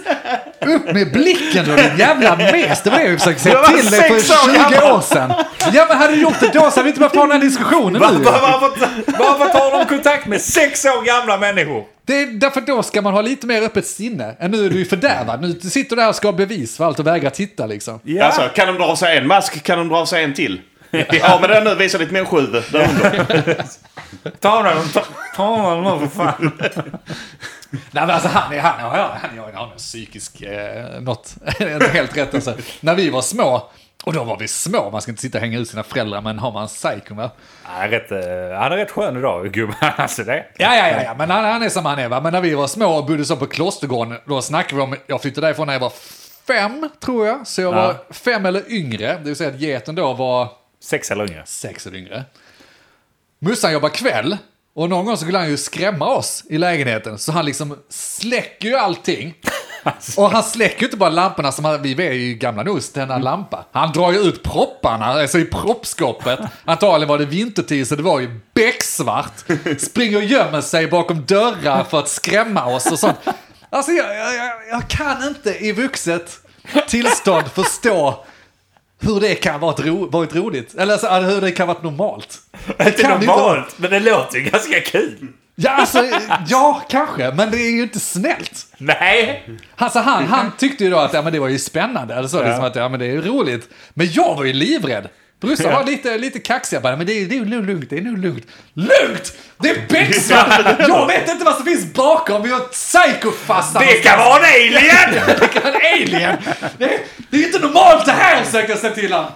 B: Upp med blicken då din jävla mes. Det var det jag försökte säga
D: Jag var
B: till dig för
D: sex år
B: 20 år sedan. Ja men hade du gjort det då så hade vi inte behövt ha den här diskussionen nu.
A: Varför, varför tar de kontakt med sex år gamla människor?
B: Det är därför då ska man ha lite mer öppet sinne. Än nu är du ju fördärvad. Nu sitter du där och ska ha bevis för allt och vägrar titta liksom.
A: Ja.
D: Alltså, kan de dra av sig en mask kan de dra av sig en till. Ja, men den nu visar ditt människohuvud. Där under.
A: Ta av dem, ta- ta av dem nu för fan.
B: Nej men alltså han är, han är, han är, han är, han är en psykisk eh, något. <laughs> Inte helt rätt alltså. När vi var små, och då var vi små, man ska inte sitta och hänga ut sina föräldrar men har man psykon va?
A: <laughs> Han är rätt, eh, han är rätt skön idag, gubben. <laughs> Alltså det.
B: Ja, ja, ja, ja. men han, han är som han är. Va? Men när vi var små och bodde så på Klostergården, då snackade vi om, jag flyttade därifrån när jag var fem, tror jag. Så jag var fem eller yngre, det vill säga att geten då var
A: Sex eller yngre.
B: sex eller yngre. Mussan jobbar kväll och någon gång så skulle han ju skrämma oss i lägenheten. Så han liksom släcker ju allting. Och han släcker ju inte bara lamporna som han, vi är ju gamla nog att tända en lampa. Han drar ju ut propparna, alltså i proppskåpet. Antagligen var det vintertid så det var ju becksvart. Springer och gömmer sig bakom dörrar för att skrämma oss och sånt. Alltså jag, jag, jag- jag kan inte i vuxet tillstånd förstå hur det kan vara ett ro, varit roligt. Eller alltså, hur det kan varit normalt. Det
A: Inte
B: kan det inte vara.
A: normalt, men det låter ju ganska kul.
B: Ja, alltså, ja, kanske. Men det är ju inte snällt.
A: Nej!
B: Alltså, han, han tyckte ju då att ja, men det var ju spännande. Eller så, liksom att, ja, men det är ju roligt. Men jag var ju livrädd. Brorsan var lite, lite kaxig. Jag bara, men det är, det är nog lugnt, det är nog lugnt. Lugnt! Det är becksvart! Jag vet inte vad som finns bakom, vi har ett psykofasta.
A: Det kan vara en <laughs> alien!
B: Det kan
A: <laughs>
B: vara en alien! Det, det är inte normalt det här, försökte jag säga till honom.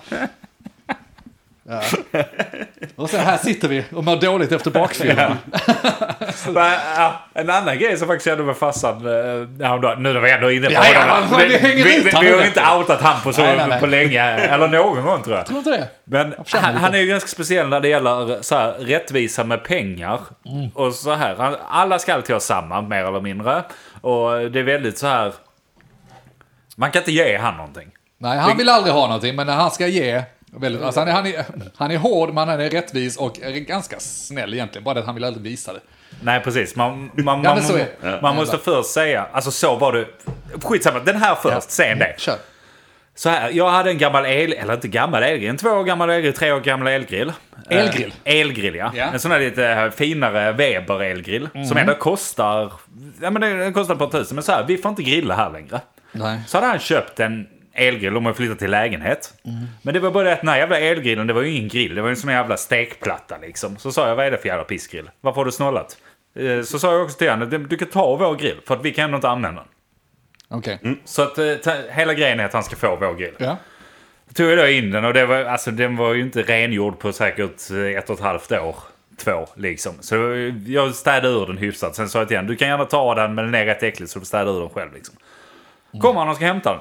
B: Och så här sitter vi och mår dåligt efter bakfyllan.
A: Men, ja, en annan grej som faktiskt hände med farsan eh, häromdagen, nu när vi ändå är inne på
B: Ja, ja,
A: honom.
B: vad fan, vi hänger
A: vi,
B: ut
A: vi,
B: han
A: vi har
B: nu.
A: inte outat han på, så,
B: Nej, nej, nej.
A: på länge, eller någon gång tror jag.
B: Tror du inte det?
A: Men
B: förtjänar
A: han,
B: lite.
A: han är ju ganska speciell när det gäller så här, rättvisa med pengar.
B: Mm.
A: Och så här, han, alla ska alltid ha samma, mer eller mindre. Och det är väldigt så här... Man kan inte ge han någonting.
B: Nej, han vill aldrig ha någonting, men när han ska ge... Väldigt, alltså han, är, han, är, han är hård, men han är rättvis och är ganska snäll egentligen. Bara det att han vill aldrig visa det.
A: Nej, precis. Man, man,
B: Ja,
A: man,
B: men så är det.
A: man måste först säga... Alltså så var det... Skitsamma, den här först, sen det.
B: Kör.
A: Så här, jag hade en gammal el... Eller inte gammal elgrill, en två år gammal elgrill, tre år gammal elgrill.
B: Elgrill?
A: Eh, elgrill, ja.
B: Ja.
A: En sån här lite eh, finare Weber-elgrill. Som ändå kostar... Ja, men den den kostar ett par tusen, men så här, vi får inte grilla här längre.
B: Nej.
A: Så hade han köpt en elgrill om man flyttat till lägenhet. Men det var bara det att den här jävla elgrillen, det var ju ingen grill. Det var ju en sån här jävla stekplatta liksom. Så sa jag, vad är det för jävla pissgrill? Varför har du snålat? Eh, Så sa jag också till honom, du kan ta vår grill för att vi kan ändå inte använda den.
B: Okej.
A: Så att eh, ta, hela grejen är att han ska få vår grill
B: Ja.
A: tog jag då in den och det var, alltså, den var ju inte rengjord på säkert eh, ett och ett halvt år. Två liksom. Så jag städade ur den hyfsat. Sen sa jag till honom, du kan gärna ta den men den är rätt äcklig så du städar ur den själv. Liksom. Kommer han och ska hämta den.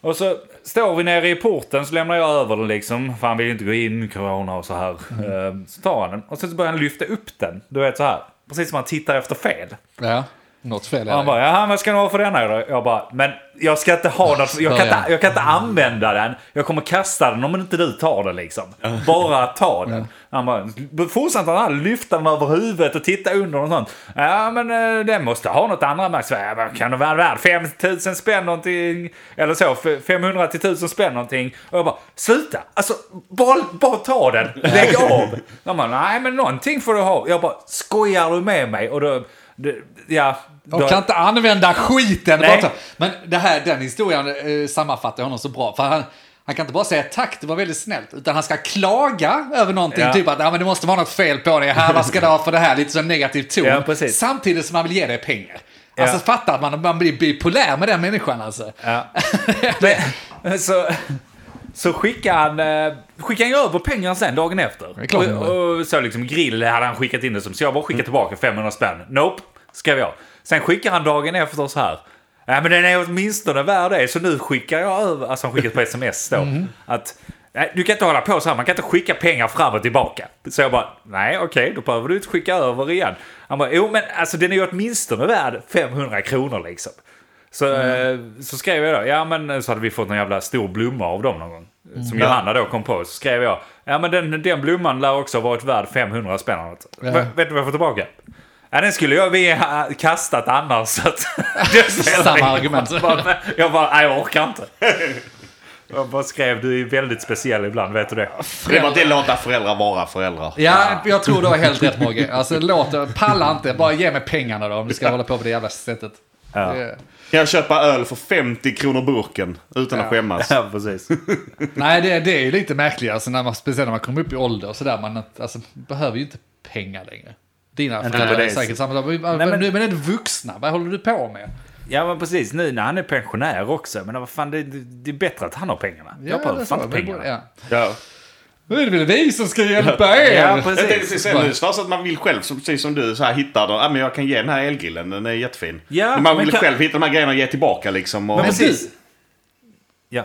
A: Och så står vi nere i porten så lämnar jag över den liksom. För han vill ju inte gå in, corona och så här. Eh, Så tar han den och sen så börjar han lyfta upp den. Du vet så här. Precis som han tittar efter fel.
B: Ja. Något fel
A: Och
B: är
A: han
B: det.
A: bara, jaha, vad ska ni ha för denna då? Jag bara, men jag ska inte ha något, jag kan inte, jag kan inte använda den. Jag kommer kasta den om inte du tar den liksom. Bara ta den. Han bara, fortsatte han lyfta den över huvudet och titta under och sånt. Ja, men eh, den måste ha något annat märke. Så, Ja, men kan det vara värd 5000 spänn någonting? Eller så, f- 500 till 1000 spänn någonting. Och jag bara, sluta! Alltså, bara, bara ta den. Lägg av! Han bara, nej men någonting får du ha. Jag bara, skojar du med mig? Och då, det, ja. då-
B: De kan inte använda skiten!
A: Nej.
B: Bara ta- Men det här, den historien eh, sammanfattar honom så bra. För han, han kan inte bara säga tack, det var väldigt snällt. Utan han ska klaga över någonting.
A: Ja.
B: Typ att ja, men det måste vara något fel på dig. Här, vad ska du ha för det här? Lite så negativ ton.
A: Ja, precis.
B: Samtidigt som han vill ge dig pengar.
A: Ja.
B: Alltså fatta att man, man blir bipolär med den människan alltså.
A: <laughs> Ja. Men, så, så skickade han, eh, skickade han över pengarna sen dagen efter.
B: är klart han Mm.
A: och, och så liksom grill hade han skickat in det som. Så jag bara skickade tillbaka 500 spänn. Nope, skrev jag. Sen skickar han dagen efter så här. Ja men den är åtminstone värd det. Så nu skickar jag över, alltså han skickat på sms då.
B: Mm.
A: Att, nej, du kan inte hålla på så här, man kan inte skicka pengar fram och tillbaka. Så jag bara, nej okej, då behöver du inte skicka över igen. Han bara, jo men alltså den är ju åtminstone värd 500 kronor liksom. Så,
B: Mm.
A: eh, så skrev jag då, ja men eh, så hade vi fått en jävla stor blomma av dem någon gång.
B: Mm.
A: Som Johanna då kom på. Så skrev jag, ja men den, den blomman lär också ha varit värd 500 spänn. eller något.
B: Ja.
A: Vet vet du vad jag får tillbaka? Ja, den skulle jag vi ha kastat annars. Så att, <laughs> det spelar
B: Samma
A: ingen
B: argument.
A: roll. Jag bara, Jag bara, nej jag orkar inte. <laughs> Jag bara skrev, du är väldigt speciell ibland, vet
B: <laughs>
A: du det?
D: Det är bara att det låta föräldrar vara föräldrar.
B: Ja, jag tror du har helt rätt Mogge. Alltså låt, palla inte, bara ge mig pengarna då om du ska hålla på på det jävla sättet. Det-
D: Kan jag köpa öl för 50 kronor burken utan att skämmas?
A: Ja, precis.
B: Nej, det, det är ju lite märkligt. Alltså, när man, speciellt när man kommer upp i ålder och sådär. Man alltså, behöver ju inte pengar längre. Dina föräldrar
A: det är
B: är
A: så.
B: säkert samma. sak. Men,
A: men-
B: men, nu- men är det vuxna? Vad håller du på med?
A: Ja, men precis. Nu när han är pensionär också. Men vad fan, det, det är bättre att han har pengarna.
B: Ja,
A: Jag behöver
B: det
A: fan
B: så.
A: inte
B: Vi
A: pengarna.
B: borde- Ja.
D: Ja.
B: Nu är det väl vi som ska hjälpa er?
A: Ja,
D: Jag tänkte
A: precis.
D: säga nu snarare så att man vill själv, som- precis som du, så här hittar den. Ah, men jag kan ge den här elgrillen, den är jättefin.
A: Ja,
D: men man
A: men
D: vill
A: kan-
D: själv hitta de här grejerna och ge tillbaka liksom. Och...
A: Men
B: Men
A: precis.
B: du,
A: Ja.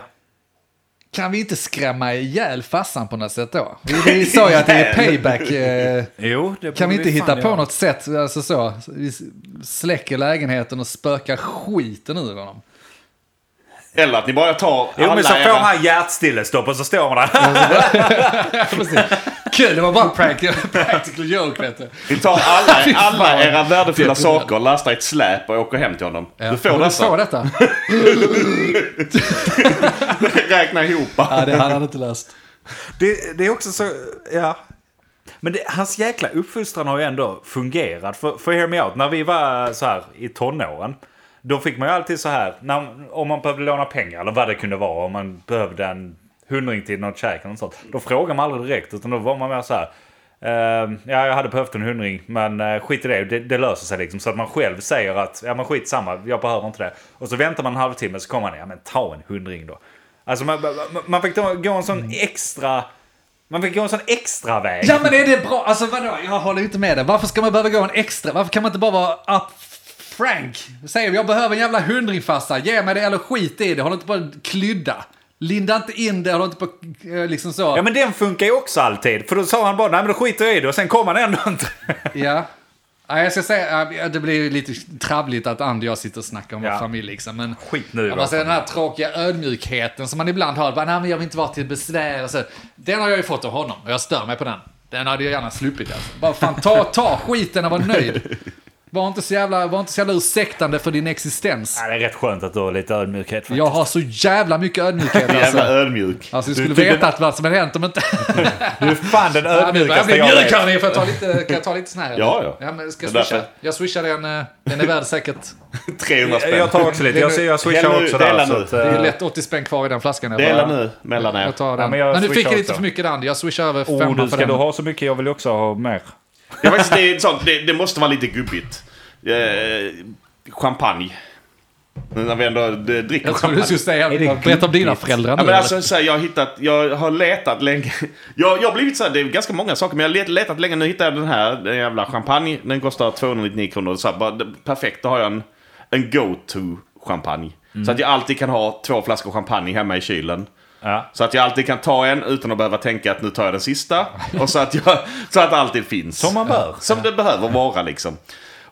B: kan vi inte skrämma ihjäl farsan på något sätt då? Vi, vi sa ju att det är payback. eh,
A: Jo, det
B: Kan vi
A: borde
B: inte hitta
A: fan
B: på
A: göra.
B: något sätt? Alltså så, vi släcker lägenheten och spökar skiten ur honom.
D: Eller att ni bara tar
A: Jo, men så får
D: era-
A: han hjärtstillestånd och så står man där.
B: Precis. Kul, det var bara en practical, <laughs> practical joke vet du.
D: Ni tar
A: <laughs>
D: alla,
B: Fy fan.
D: alla era värdefulla
B: Det är bra.
D: saker, lastar i ett släp och åker hem till honom. Du får
B: du
D: dessa.
B: får detta.
D: <laughs> Räkna ihop.
B: <laughs> Ja, det hade han inte läst.
A: Det, det är också så, ja. Men det, hans jäkla uppfostran har ju ändå fungerat. För, för hear me out, när vi var så här i tonåren. Då fick man ju alltid så här, när, om man behövde låna pengar eller vad det kunde vara. Om man behövde en hundring till något käk eller något sånt. Då frågade man aldrig direkt, utan då var man mer så här. ehm, ja, jag hade behövt en hundring, men eh, skit i det, det. Det löser sig liksom. Så att man själv säger att, ja men skit samma, jag behöver inte det. Och så väntar man en halvtimme så kommer man, ja men ta en hundring då. Alltså man, man, man fick ta, gå en sån extra Man fick gå en sån extra väg.
B: Ja men är det bra? Alltså vadå? Jag håller inte med dig. Varför ska man behöva gå en extra? Varför kan man inte bara vara up Frank? Säger jag behöver en jävla hundring farsa. Ge mig det eller skit i det. Håll inte på att klydda. Linda inte in det. Håll inte på att, eh, liksom så.
A: Ja men den funkar ju också alltid. För då sa han bara nej men då skiter jag i det och sen kom han ändå inte.
B: Ja. Ja, jag ska säga, ja, det blir ju lite trabbligt att Andy och jag sitter och snackar om
A: Ja.
B: vår familj liksom. Men
A: Skit nu
B: Ja,
A: då.
B: men sen den här tråkiga ödmjukheten som man ibland har. Bara, nej men jag vill inte vara till besvär. Och så, den har jag ju fått av honom och jag stör mig på den. Den hade jag gärna sluppit alltså. Bara fan ta, ta skiten och var nöjd. Var inte så jävla, var inte så jävla ursäktande för din existens.
A: Ja, det är rätt skönt att du har lite ödmjukhet. faktiskt.
B: Jag har så jävla
A: <laughs>
B: mycket ödmjukhet
D: Jävla
B: alltså.
D: ödmjuk.
B: Alltså jag skulle
A: Du- du-
B: veta att vad som hade hänt om inte... <laughs>
A: Du är fan den
B: Ja, nu börjar jag
A: ödmjukaste
B: bli
A: jag
B: mjuk
A: vet.
B: hörni. Får jag ta lite, kan jag ta lite sån här? eller?
D: <laughs> Ja, ja.
B: ja men ska jag
D: Det är
B: swisha?
D: därför.
B: Jag swishar den. eh, Den är värd säkert.
D: 300 spänn.
A: Jag tar också lite. Jag, jag
D: Häll
A: swishar
D: nu,
A: också
D: dela
A: där. Så
D: nu.
A: att,
B: Det är
A: eh,
B: ju lätt 80 spänn kvar i den flaskan. Jag
D: Dela
B: bara-
D: nu mellan er.
B: Jag tar den.
A: Ja, men
B: men,
A: jag
B: du fick
A: swishar
B: jag lite
A: också.
B: för mycket Dandy. Jag swishar över
A: oh,
B: femman
A: du
B: för
A: ska
B: den.
A: du ha så mycket? Jag vill också ha mer.
D: Det, är faktiskt, det, är sånt, det, det måste vara lite gubbigt. Eh, champagne. Men När vi ändå det, dricker
B: Jag trodde
D: champagne.
B: du skulle säga
A: det
B: berätta om dina föräldrar nu.
D: Ja, men
B: eller?
D: alltså, så här, jag, har hittat, jag har letat länge. Jag, jag har blivit så här, det är ganska många saker, men jag har let, letat länge. Nu hittade jag den här, den jävla champagne. Den kostar 299 kronor. Så här, bara, det, perfekt, då har jag en, en go-to-champagne.
B: Mm.
D: Så att jag alltid kan ha två flaskor champagne hemma i kylen.
A: Ja.
D: Så att jag alltid kan ta en utan att behöva tänka att nu tar jag den sista. Och så att, jag, så att det alltid finns.
A: Som man bör.
D: Som det behöver vara liksom.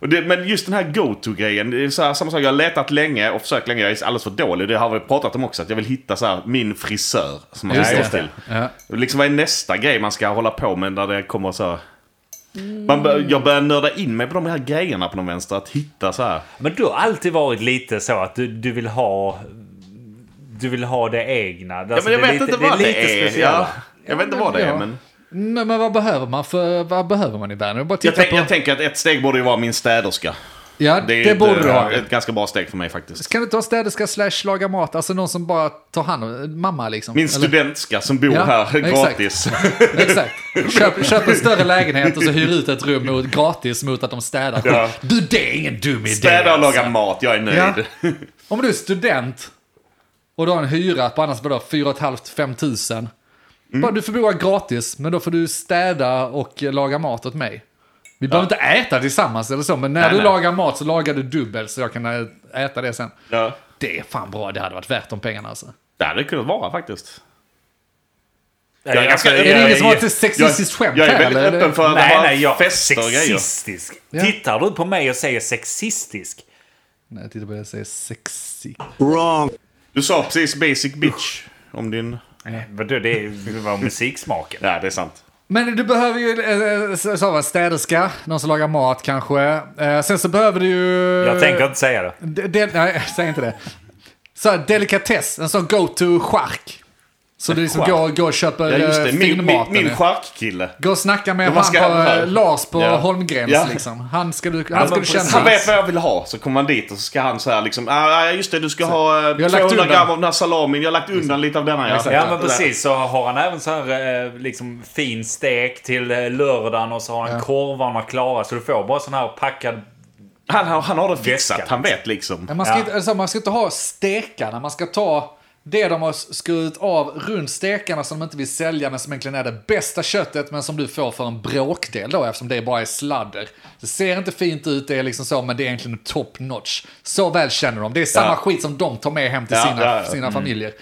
D: Och det, men just den här go-to-grejen, det är så här, samma sak. Jag har letat länge och försökt länge. Jag är alldeles för dålig. Det har vi pratat om också. Att jag vill hitta så här, min frisör. Som man
B: Just
D: ska
B: det.
D: gå till.
B: Ja.
D: Liksom, vad är nästa grej man ska hålla på med när det kommer så här... Man bör, jag börjar nörda in mig på de här grejerna på någon vänster. Att hitta så här.
A: Men du har alltid varit lite så att du, du vill ha... Du vill ha det egna.
D: Ja, men jag vet inte vad Alltså, det är.
A: speciella.
D: Ja, jag vet inte vad det är,
B: Ja.
D: men...
B: Nej, men vad behöver man för... Vad behöver man i världen? Jag bara
D: Jag,
B: tittar
D: tänk,
B: på...
D: jag tänker att ett steg borde ju vara min städerska.
B: ja,
D: Det, är
B: det,
D: ett,
B: borde du
D: eh,
B: ha.
D: Ett ganska bra steg för mig faktiskt.
B: Kan du inte ha städerska slash laga mat? Alltså någon som bara tar hand om... Mamma liksom.
D: Min
B: Eller-
D: studentska som bor
B: Ja,
D: här
B: exakt.
D: gratis.
B: Exakt. Köp, köp en större lägenhet och så hyr ut ett rum mot, gratis mot att de städar.
D: Ja.
B: Du, det är ingen dum idé.
D: Städa och
B: alltså.
D: laga mat, jag är nöjd.
B: Om du är student och du har en hyra på annars bara 4 5 tusen.
D: Mm.
B: Bara, du får bo gratis, men då får du städa och eh, laga mat åt mig. Vi behöver inte äta tillsammans eller så, men när
D: Nej,
B: du
D: nej.
B: lagar mat så lagar du dubbelt så jag kan ä- äta det sen.
D: Ja.
B: Det är fan bra, det hade varit värt de pengarna alltså.
D: Det hade det kunnat vara faktiskt.
A: Jag
D: är ganska-
B: Är det
D: Jag-
B: ingen som har
A: jag-
B: ett sexistiskt skämt
D: jag är
B: här,
D: väldigt
B: eller?
D: öppen för att
A: Nej,
D: ha
A: nej, jag...
D: fester och grejer.
A: Sexistisk.
B: Ja.
A: Tittar du på mig och säger sexistisk?
B: Nej, titta på det, jag säger sexig.
C: Wrong.
D: Du sa precis basic bitch om din...
A: Eh, Vadå, det är- det var <laughs> musiksmaken.
D: Nej, det är sant.
B: Men du behöver ju eh, eh, så- så en städerska, någon som lagar mat kanske. Eh, Sen så behöver du ju...
A: Jag tänker inte säga det.
B: De, de, nej, <laughs> säg inte det. Så här, delikatess, en sån go-to-chark. Så du liksom
A: Chark.
B: går, går och köper
D: Ja, just det.
B: eh,
D: Min, min,
B: finmaten.
D: min charkkille.
B: Gå och snacka med
D: Men
B: han
D: vad ska
B: på, eh,
D: han för?
B: Lars på
D: Ja.
B: Holmgrens
D: Ja.
B: liksom. Han ska du, han
A: men
B: ska du
A: precis.
B: känna.
D: Han vet vad jag vill ha, så kommer man dit och så ska han så här liksom... Ah, ah, just det, du ska ha eh,
B: lagt
D: 200
B: undan.
D: gram av den här salamin. Jag har lagt undan lite av denna. Ja.
B: Exakt.
A: Ja men precis, så har han även så här eh, liksom fin stek till eh, lördagen och så har han korvarna klara så du får bara sån här packad...
D: Han, har- han har det fixat.
A: Väska.
D: Han vet liksom.
B: Men Man ska,
A: Ja.
B: inte, alltså, man ska inte ha stekarna, man ska ta det de har skurit av runt stekarna som de inte vill sälja men som egentligen är det bästa köttet men som du får för en bråkdel då eftersom det bara är sladder. Det ser inte fint ut, det är liksom så, men det är egentligen top notch. Så väl känner de. Det är samma
D: Ja.
B: skit som de tar med hem till
D: Ja,
B: sina,
D: ja, ja.
B: sina familjer.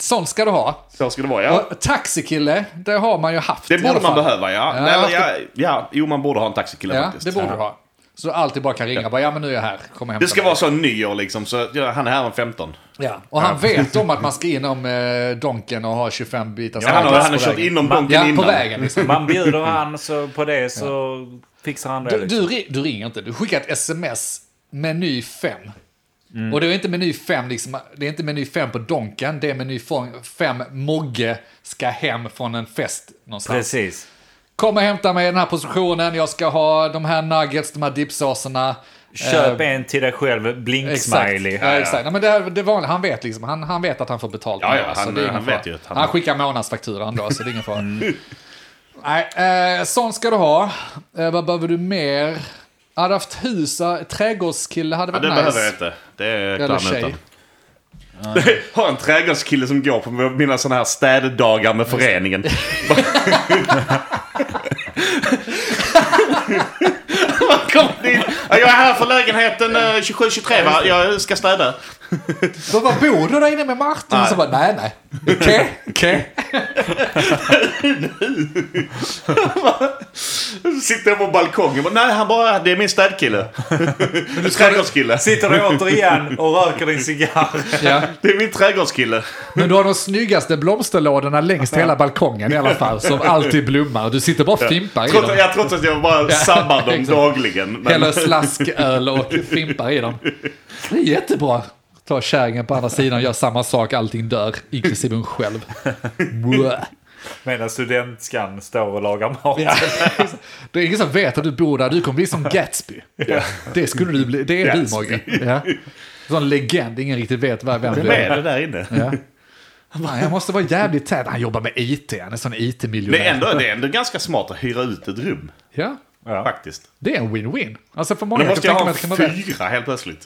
B: Sånt ska du ha.
D: Så ska det vara, ja.
B: Och taxikille, det har man ju haft
D: Det
B: i alla
D: borde man
B: fall.
D: behöva, ja.
B: Ja,
D: Nej, men,
B: jag
D: ja, ja. Jo, man borde ha en taxikille
B: Ja,
D: faktiskt.
B: det borde du ha. Så du alltid bara kan ringa, bara ja men nu är jag här, kom och hämta
D: Det ska
B: mig."
D: vara så nyår liksom, så ja, han är här om 15.
B: Ja, och han vet om att man ska inom eh, Donken och ha 25 bitar
A: Ja,
D: Han har, han har
A: på
D: kört
A: vägen.
D: inom
A: Man-
D: bonken
B: ja, på
D: innan.
B: vägen.
D: <laughs>
B: Liksom.
A: Man <laughs> bjuder han så på det så fixar han det.
B: Du,
A: liksom.
B: du, ri- du ringer inte, du skickar ett sms, meny 5.
D: Mm.
B: Och det är inte meny 5 liksom, det är inte meny 5 på Donken, det är meny 5 Mogge ska hem från en fest någonstans.
A: Precis.
B: Kom och hämta mig i den här positionen, jag ska ha de här nuggets, de här dipsåserna.
A: Köp en till dig själv, blink-smiley.
B: Ja, Eh, exakt. Nej, men det, här- det är vanligt. Han vet liksom, han, han vet att han får betalt.
D: Ja,
B: med
D: ja,
B: det,
D: han-
B: så det är ingen
D: han
B: fara.
D: vet ju att
B: han...
D: han-
B: skickar månadsfakturan då, så det är ingen fara. Nej, eh, sånt ska du ha. Eh, vad behöver du mer? Hade haft hus, eh, trädgårdskille hade
D: Ja,
B: varit
D: det
B: nice.
D: behöver jag inte. Det är
B: Eller
D: klart
B: tjej.
D: utan. <laughs> Har en trädgårdskille som går på mina sådana här städdagar
B: <laughs>
D: med föreningen. <laughs> Man kommer in. Ja, Jag är här för lägenheten eh, 27-23 va? Jag ska städa.
B: Så vad bor du där inne med Martin?
D: Nej.
B: Så bara, nej, nej. Okej, okej.
D: Sitter jag på balkongen. Bara, Nej, han bara, det är
B: <laughs>
D: min städkille. <laughs> Trädgårdskille.
A: Sitter du återigen och röker din cigarr? <laughs>
B: Ja.
D: <laughs> Det är min trädgårdskille.
B: Men du har de snyggaste blomsterlådorna längst hela balkongen i alla fall. Som alltid blommar. Du sitter bara och fimpar i
D: Trots,
B: dem.
D: jag trots att jag bara sabbar
B: <laughs>
D: dem
B: exakt.
D: dagligen. Men,
B: Häller slasköl och fimpar i dem. Det är jättebra. Ta kärringen på andra sidan, gör samma sak, allting dör. Inklusive hon själv. Bleh.
A: Medan studentskan står och lagar mat.
B: Det är ingen som vet att du bor där, du kommer bli som Gatsby. Det skulle du bli, det är du
D: Gatsby.
B: Mogge. Ja. Sån legend, ingen riktigt vet vem vem du
D: <laughs> vem är
B: är.
D: det där inne?
B: Ja. Han bara, Jag måste vara jävligt tät. Han jobbar med IT, han är sån
D: Det är,
B: IT-miljonär.
D: ändå, det är ändå ganska smart att hyra ut ett rum.
B: Ja,
A: Ja.
D: Faktiskt.
B: det är en win-win. Alltså för många
D: Men då måste jag
B: tänker
D: ha
B: man att det kan vara rätt.
D: fyra helt plötsligt.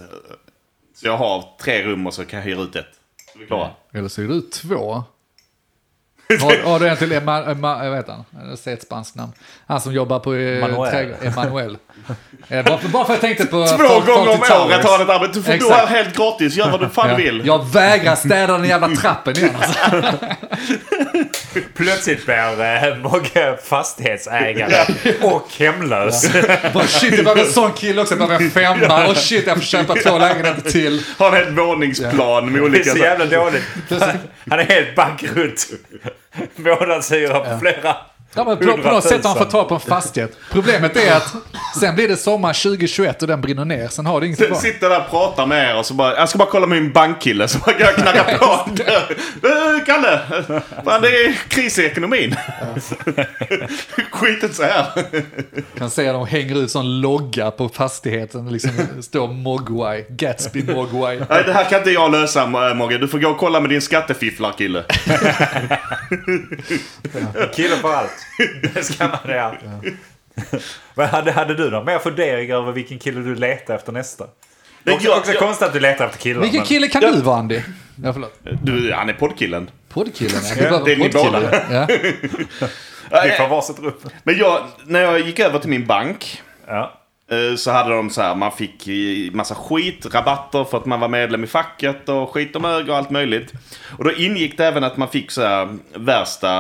D: Så jag har tre rum och så kan jag hyra ut ett. Så vi är klara.
B: Eller så är du
D: <laughs>
B: två. Har, har du en till Emma, Emma, jag vet han, jag säger ett spanskt namn. Han som jobbar på
A: Manuel.
B: Emanuel. Emanuel. Eh, bara, för, bara för att jag tänkte på...
D: <laughs> Två gånger om året har han ett
B: det
D: arbete. Du får bo
B: Exakt.
D: här helt gratis, gör vad du fan vill.
B: Jag vägrar städa den jävla trappen igen.
D: <laughs>
B: Alltså.
A: Plötsligt blir eh, Mogge fastighetsägare och hemlös.
B: Bara, shit, jag behöver en sån kille också. Jag behöver en femma. Och shit, jag får köpa två lägenheter till.
D: Har en hel våningsplan med
A: Det är
D: olika...
A: så jävla dåligt. Han, han är helt bankrutt. Månadshyra på flera
B: Ja, men på, på något sätt har han fått
A: hundratusen.
B: tag på en fastighet. Problemet är att sen blir det sommar 2021 och den brinner ner. Sen har det inget kvar.
D: Sitter där och pratar med er och så bara, jag ska bara kolla med min bankkille så man kan knacka på. Eh, Kalle! Fan, det är kris i ekonomin. Skiten så här.
B: Kan se de hänger ut sån logga på fastigheten. Liksom
D: <laughs>
B: står Mogwai. Gatsby Mogwai.
D: Nej, det här kan inte jag lösa eh, Mogge. Du får gå och kolla med din skattefifflarkille.
A: Kille för allt. Det ska man göra. Vad hade, hade du någon mer funderingar över vilken kille du letar efter nästa? Det
D: Det
A: är
D: är
A: också,
D: jag-
A: också
D: jag-
A: konstigt att du letar efter killar.
B: Vilken
A: men-
B: kille kan du vara Andy? Ja, förlåt.
D: Du, han är poddkillen.
B: Poddkillen ja. Du bara
D: det är ni
B: poddkille.
D: båda.
B: Ja.
A: Vi får varsitt rum.
D: Äh, Men jag, när jag gick över till min bank
A: Ja.
D: eh, så hade de så här, man fick i- massa skit, rabatter för att man var medlem i facket och skit om ög och allt möjligt. Och då ingick det även att man fick så här värsta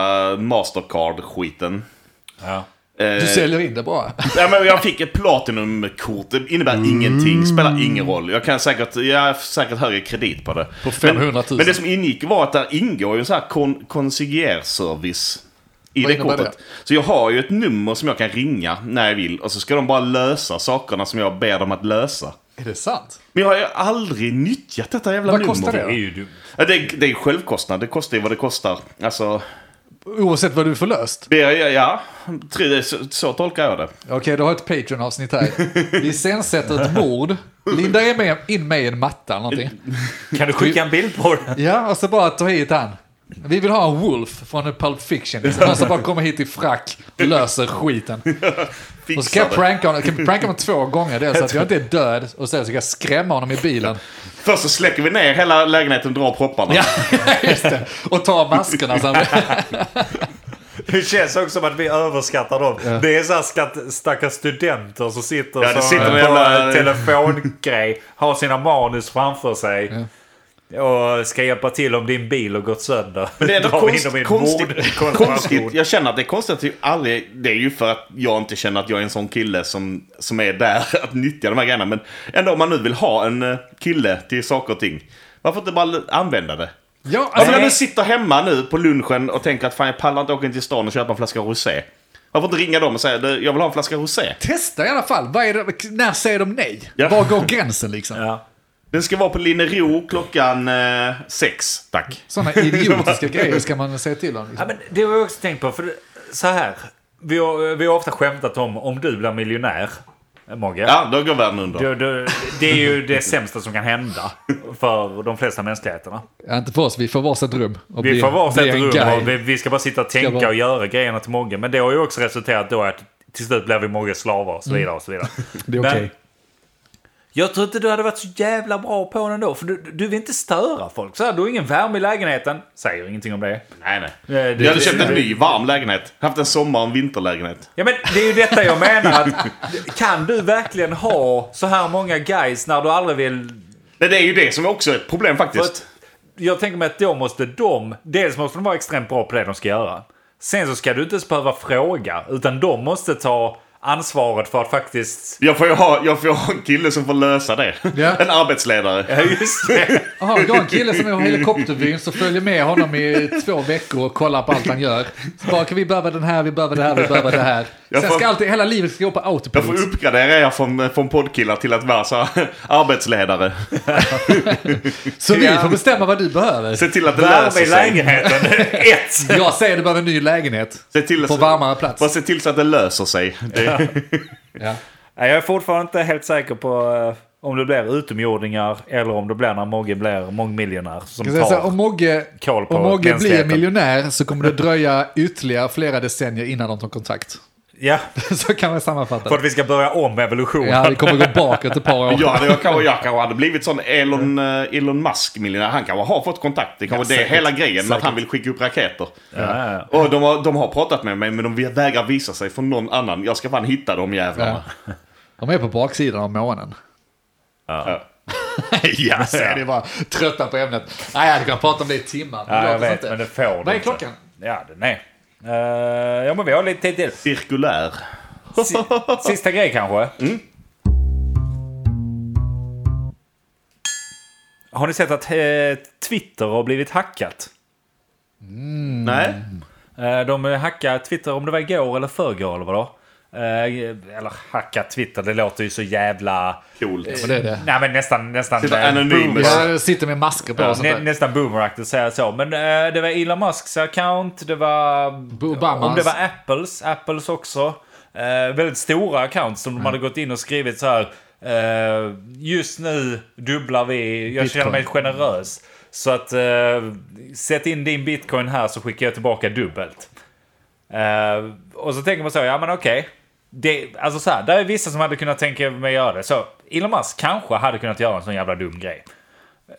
D: Mastercard-skiten.
A: Ja.
D: Eh.
B: Du säljer in det bra.
D: Ja, men jag fick ett platinumkort. Det innebär ingenting. Spelar ingen roll. Jag kan säkert, jag har säkert högre kredit på det. På
B: 500 000.
D: Men, men det som ingick var att där ingår ju en sån här kon- concierge-service. I
B: Vad
D: det
B: innebär
D: kortet. Så jag har ju ett nummer som jag kan ringa när jag vill. Och så ska de bara lösa sakerna som jag ber dem att lösa.
B: Är det sant?
D: Men jag har ju aldrig nyttjat detta jävla
B: Vad
D: nummer.
B: kostar det?
A: Det är ju dumt.
D: Ja, det, är, det är självkostnad. Det kostar ju vad det kostar. Alltså,
B: Oavsett vad du får löst.
D: det är, ja, ja. Tre- det är Så, så tolkar jag det.
B: Okej, du har ett Patreon-avsnitt här. Vi iscensätter ett mord. Linda är med, in mig i en matta eller någonting.
A: Kan du skicka en bild på den?
B: Ja, och så bara ta hit han. Vi vill ha en Wolf från Pulp Fiction. Liksom. Han som bara kommer hit i frack, löser skiten. Och så kan
D: Fixar
B: jag
D: det.
B: pranka honom, kan jag pranka honom två gånger. Dels att jag inte är död och sen så kan jag skrämma honom i bilen.
D: Först så släcker vi ner hela lägenheten och drar propparna.
B: Ja, <laughs> just det. Och ta maskerna. Så han,
A: Det känns också som att vi överskattar dem. Det är så här skatt, stackars studenter som sitter,
D: Ja, det
A: så-
D: sitter
A: på
D: en jävla-
A: en telefongrej, har sina manus framför sig. Och ska hjälpa till om din bil har gått sönder.
D: Men det
A: <laughs>
D: är ändå
A: Drar in
D: konst,
A: dem i en
D: konstigt,
A: mordkonspiration.
D: konstigt. Jag känner att det är konstigt att jag aldrig... Det är ju för att jag inte känner att jag är en sån kille som, som är där <laughs> att nyttja de här grejerna. Men ändå om man nu vill ha en eh, kille till saker och ting. Varför inte bara använda det?
B: ja,
D: Alltså
B: alltså,
D: när du sitter hemma nu på lunchen och tänker att fan jag pallar inte åka in till stan och köpa en flaska rosé. Varför inte ringa dem och säga "Du, jag vill ha en flaska rosé.
B: testa i alla fall. Vad är det, när säger de nej?
D: Ja.
B: Var går gränsen liksom?
A: Ja.
D: Den ska vara på Linnero klockan eh, sex, tack.
B: Sådana idiotiska grejer ska man säga till om.
A: Ja,
B: Liksom.
A: men det har jag också tänkt på. För det- så här, vi har, vi har ofta skämtat om om du blir miljonär, Mogge.
D: Ja, då går världen under.
A: Då, då, det är ju det sämsta som kan hända för de flesta mänskligheterna.
B: Ja, inte för oss, vi får varsitt rum. Och
A: Vi
B: blir-
A: får varsitt
B: blir en
A: rum
B: guide.
A: och vi, vi ska bara sitta och tänka
B: bara-
A: och göra grejerna till Mogge. Men det har ju också
B: Mm.
A: resulterat då att till slut blir vi Mogges slavar och så vidare. Och så vidare.
B: Det är
A: Men
B: okej.
A: Jag tror inte du hade varit så jävla bra på den då, för du, du vill inte störa folk. Så här, du har ingen värme i lägenheten. Säger ingenting om det. Eh,
D: Nej, nej.
A: det-
D: jag hade köpt en
A: det-
D: ny varm lägenhet. Haft en sommar och en vinterlägenhet.
A: Ja men det är ju detta jag menar. Att, kan du verkligen ha så här många guys när du aldrig vill...
D: Nej, det är ju det som också är ett problem
A: För
D: faktiskt.
A: att, jag tänker mig att då måste de... Dels måste de vara extremt bra på det de ska göra. Sen så ska du inte ens behöva fråga, utan de måste ta ansvaret för att faktiskt...
D: Jag får ju ha, jag får ju ha en kille som får lösa det.
B: Ja.
D: <laughs> En arbetsledare.
A: <laughs> Ja just <laughs> det.
B: Jaha, du har en kille som är helikoptervyn så följer med honom i två veckor och kollar på allt han gör. Så bara, kan vi behöver den här, vi behöver det här, vi behöver det här.
D: Jag
B: Sen
D: får-
B: ska alltid, hela livet ska gå på
D: Jag får
B: autopilot.
D: uppgradera er från, eh, från poddkillar till att vara så här, <laughs> arbetsledare.
B: Så vi
A: Ja.
B: får bestämma vad du behöver.
D: Se till att det
A: Värme
D: löser
A: i
D: sig.
A: lägenheten. <laughs> Ett!
B: Jag säger du behöver en ny lägenhet.
D: Se till,
B: På varmare plats.
D: Bara se till så att det löser sig. Det,
B: Ja.
A: Nej, Jag är fortfarande inte helt säker på eh, om det blir utomjordingar eller om det blir när Mogge blir mångmiljonär som
B: Jag säger så här,
A: tar...
B: om Mogge,
A: koll på
B: om Mogge blir
A: mänskligheten.
B: miljonär så kommer det dröja ytterligare flera decennier innan de tar kontakt. <laughs>
A: Ja,
B: Så kan man
A: för
B: sammanfatta.
A: att vi ska börja om evolutionen.
B: Ja, det kommer gå bakåt ett par år.
D: jag, hade, jag, kanske, jag kanske hade blivit sån Elon, eh, Elon Musk-miljonär. Han kanske har fått kontakt. Det kanske
A: Ja,
D: det är
A: säkert.
D: hela grejen med att
A: Säkert.
D: han vill skicka upp raketer.
A: Ja, ja.
D: Och de har, de har pratat med mig men de vägrar visa sig för någon annan. Jag ska fan hitta de jävlarna.
B: De är på baksidan av månen.
D: Ja.
B: ja, så är det bara trötta på ämnet. Nej, jag hade kunnat prata om det i timmar. men
A: Ja,
B: det
A: jag
B: låter
A: vet,
B: inte.
A: men det får du
B: Vad är
A: inte.
B: klockan?
A: Ja, den är. Eh, ja, men vi har lite tid till.
D: Cirkulär.
A: Si- Sista grej kanske. Mm. Har ni sett att eh, Twitter har blivit hackat? Mm.
D: Nej.
A: Eh, De hackade Twitter, om det var igår eller förrgår eller vadå? Eh, Eller hacka Twitter, det låter ju så jävla...
D: Coolt.
B: Och det är det.
A: Nej men nästan... nästan
D: Titta,
A: eh,
D: Anonymous.
B: Jag sitter med masker på och sånt
A: Nä,
B: där.
A: nästan boomeraktigt att säga så. Men eh, det var Elon Musks account, det var...
B: Obamas.
A: Om det var Apples, Apples också. Eh, väldigt stora accounts som de hade gått in och skrivit så här. Eh, just nu dubblar vi, jag
B: Bitcoin.
A: känner mig generös. Så att eh, sätt in din bitcoin här så skickar jag tillbaka dubbelt. Eh, och så tänker man så, ja men okej. Det, alltså så här, där är vissa som hade kunnat tänka mig göra det. Så Elon Musk kanske hade kunnat göra en sån jävla dum grej.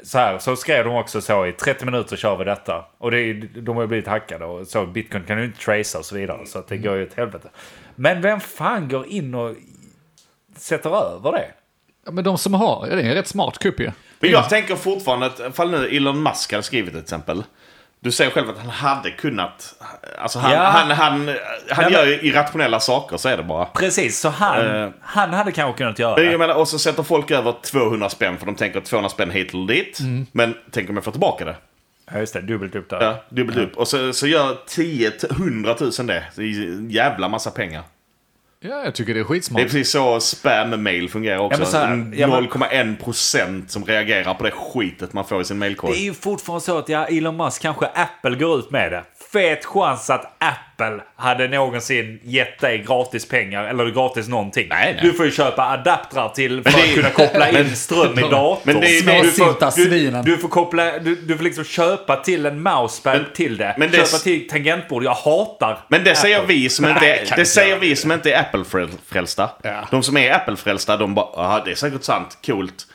A: Så här, så skrev de också så i 30 minuter kör vi detta. Och det, är ju- de har ju blivit hackade och så bitcoin kan du inte tracea och så vidare. Så att det går ju åt helvete. Men vem fan går in och sätter över det?
B: Ja, Men de som har, ja, det är en rätt smart kupp ju.
D: Men jag tänker fortfarande att, fall nu Elon Musk hade skrivit ett exempel. Du säger själv att han hade kunnat. Alltså han,
A: Ja.
D: han, han, han
A: men-
D: gör ju irrationella saker, så är det bara.
A: Precis, så han,
D: Eh.
A: han hade kanske kunnat göra
D: Jag
A: det.
D: menar, och så sätter folk över 200 spänn för de tänker 200 spänn hit eller dit. Men tänk om jag får tillbaka det.
A: Mm. Ja, just det, dubbelt upp där.
D: Ja, dubbelt upp. Och så, så gör 10 100 000 det. Det är en jävla massa pengar.
B: Ja, jag tycker det är
D: Det är
B: skitsmart.
D: precis så spam-mail fungerar
A: Ja,
D: också.
A: men så här,
D: En
A: ja, men-
D: 0,1% som reagerar på det skitet man får i sin mailkorg.
A: Det är ju fortfarande så att ja, Elon Musk, kanske Apple går ut med det. Fet chans att Apple hade någonsin gett dig gratis pengar eller gratis någonting.
D: Nej, nej.
A: Du får ju köpa adaptrar till för
D: det
A: att
D: är-
A: kunna
D: <laughs>
A: koppla in ström i datorn.
D: men det är-
B: Småsinta
A: du, du,
B: svinen.
A: du får koppla, du, du får liksom köpa till en mousepad till det.
D: men det är-
A: köpa till tangentbord. Jag hatar
D: Men det säger
A: Apple.
D: vi som inte
A: Nej,
D: är,
A: kan
D: det
A: inte
D: säger
A: göra
D: vi som inte är Apple-frälsta.
B: Ja.
D: De som är Apple-frälsta, de bara "Aha, det är säkert sant, coolt.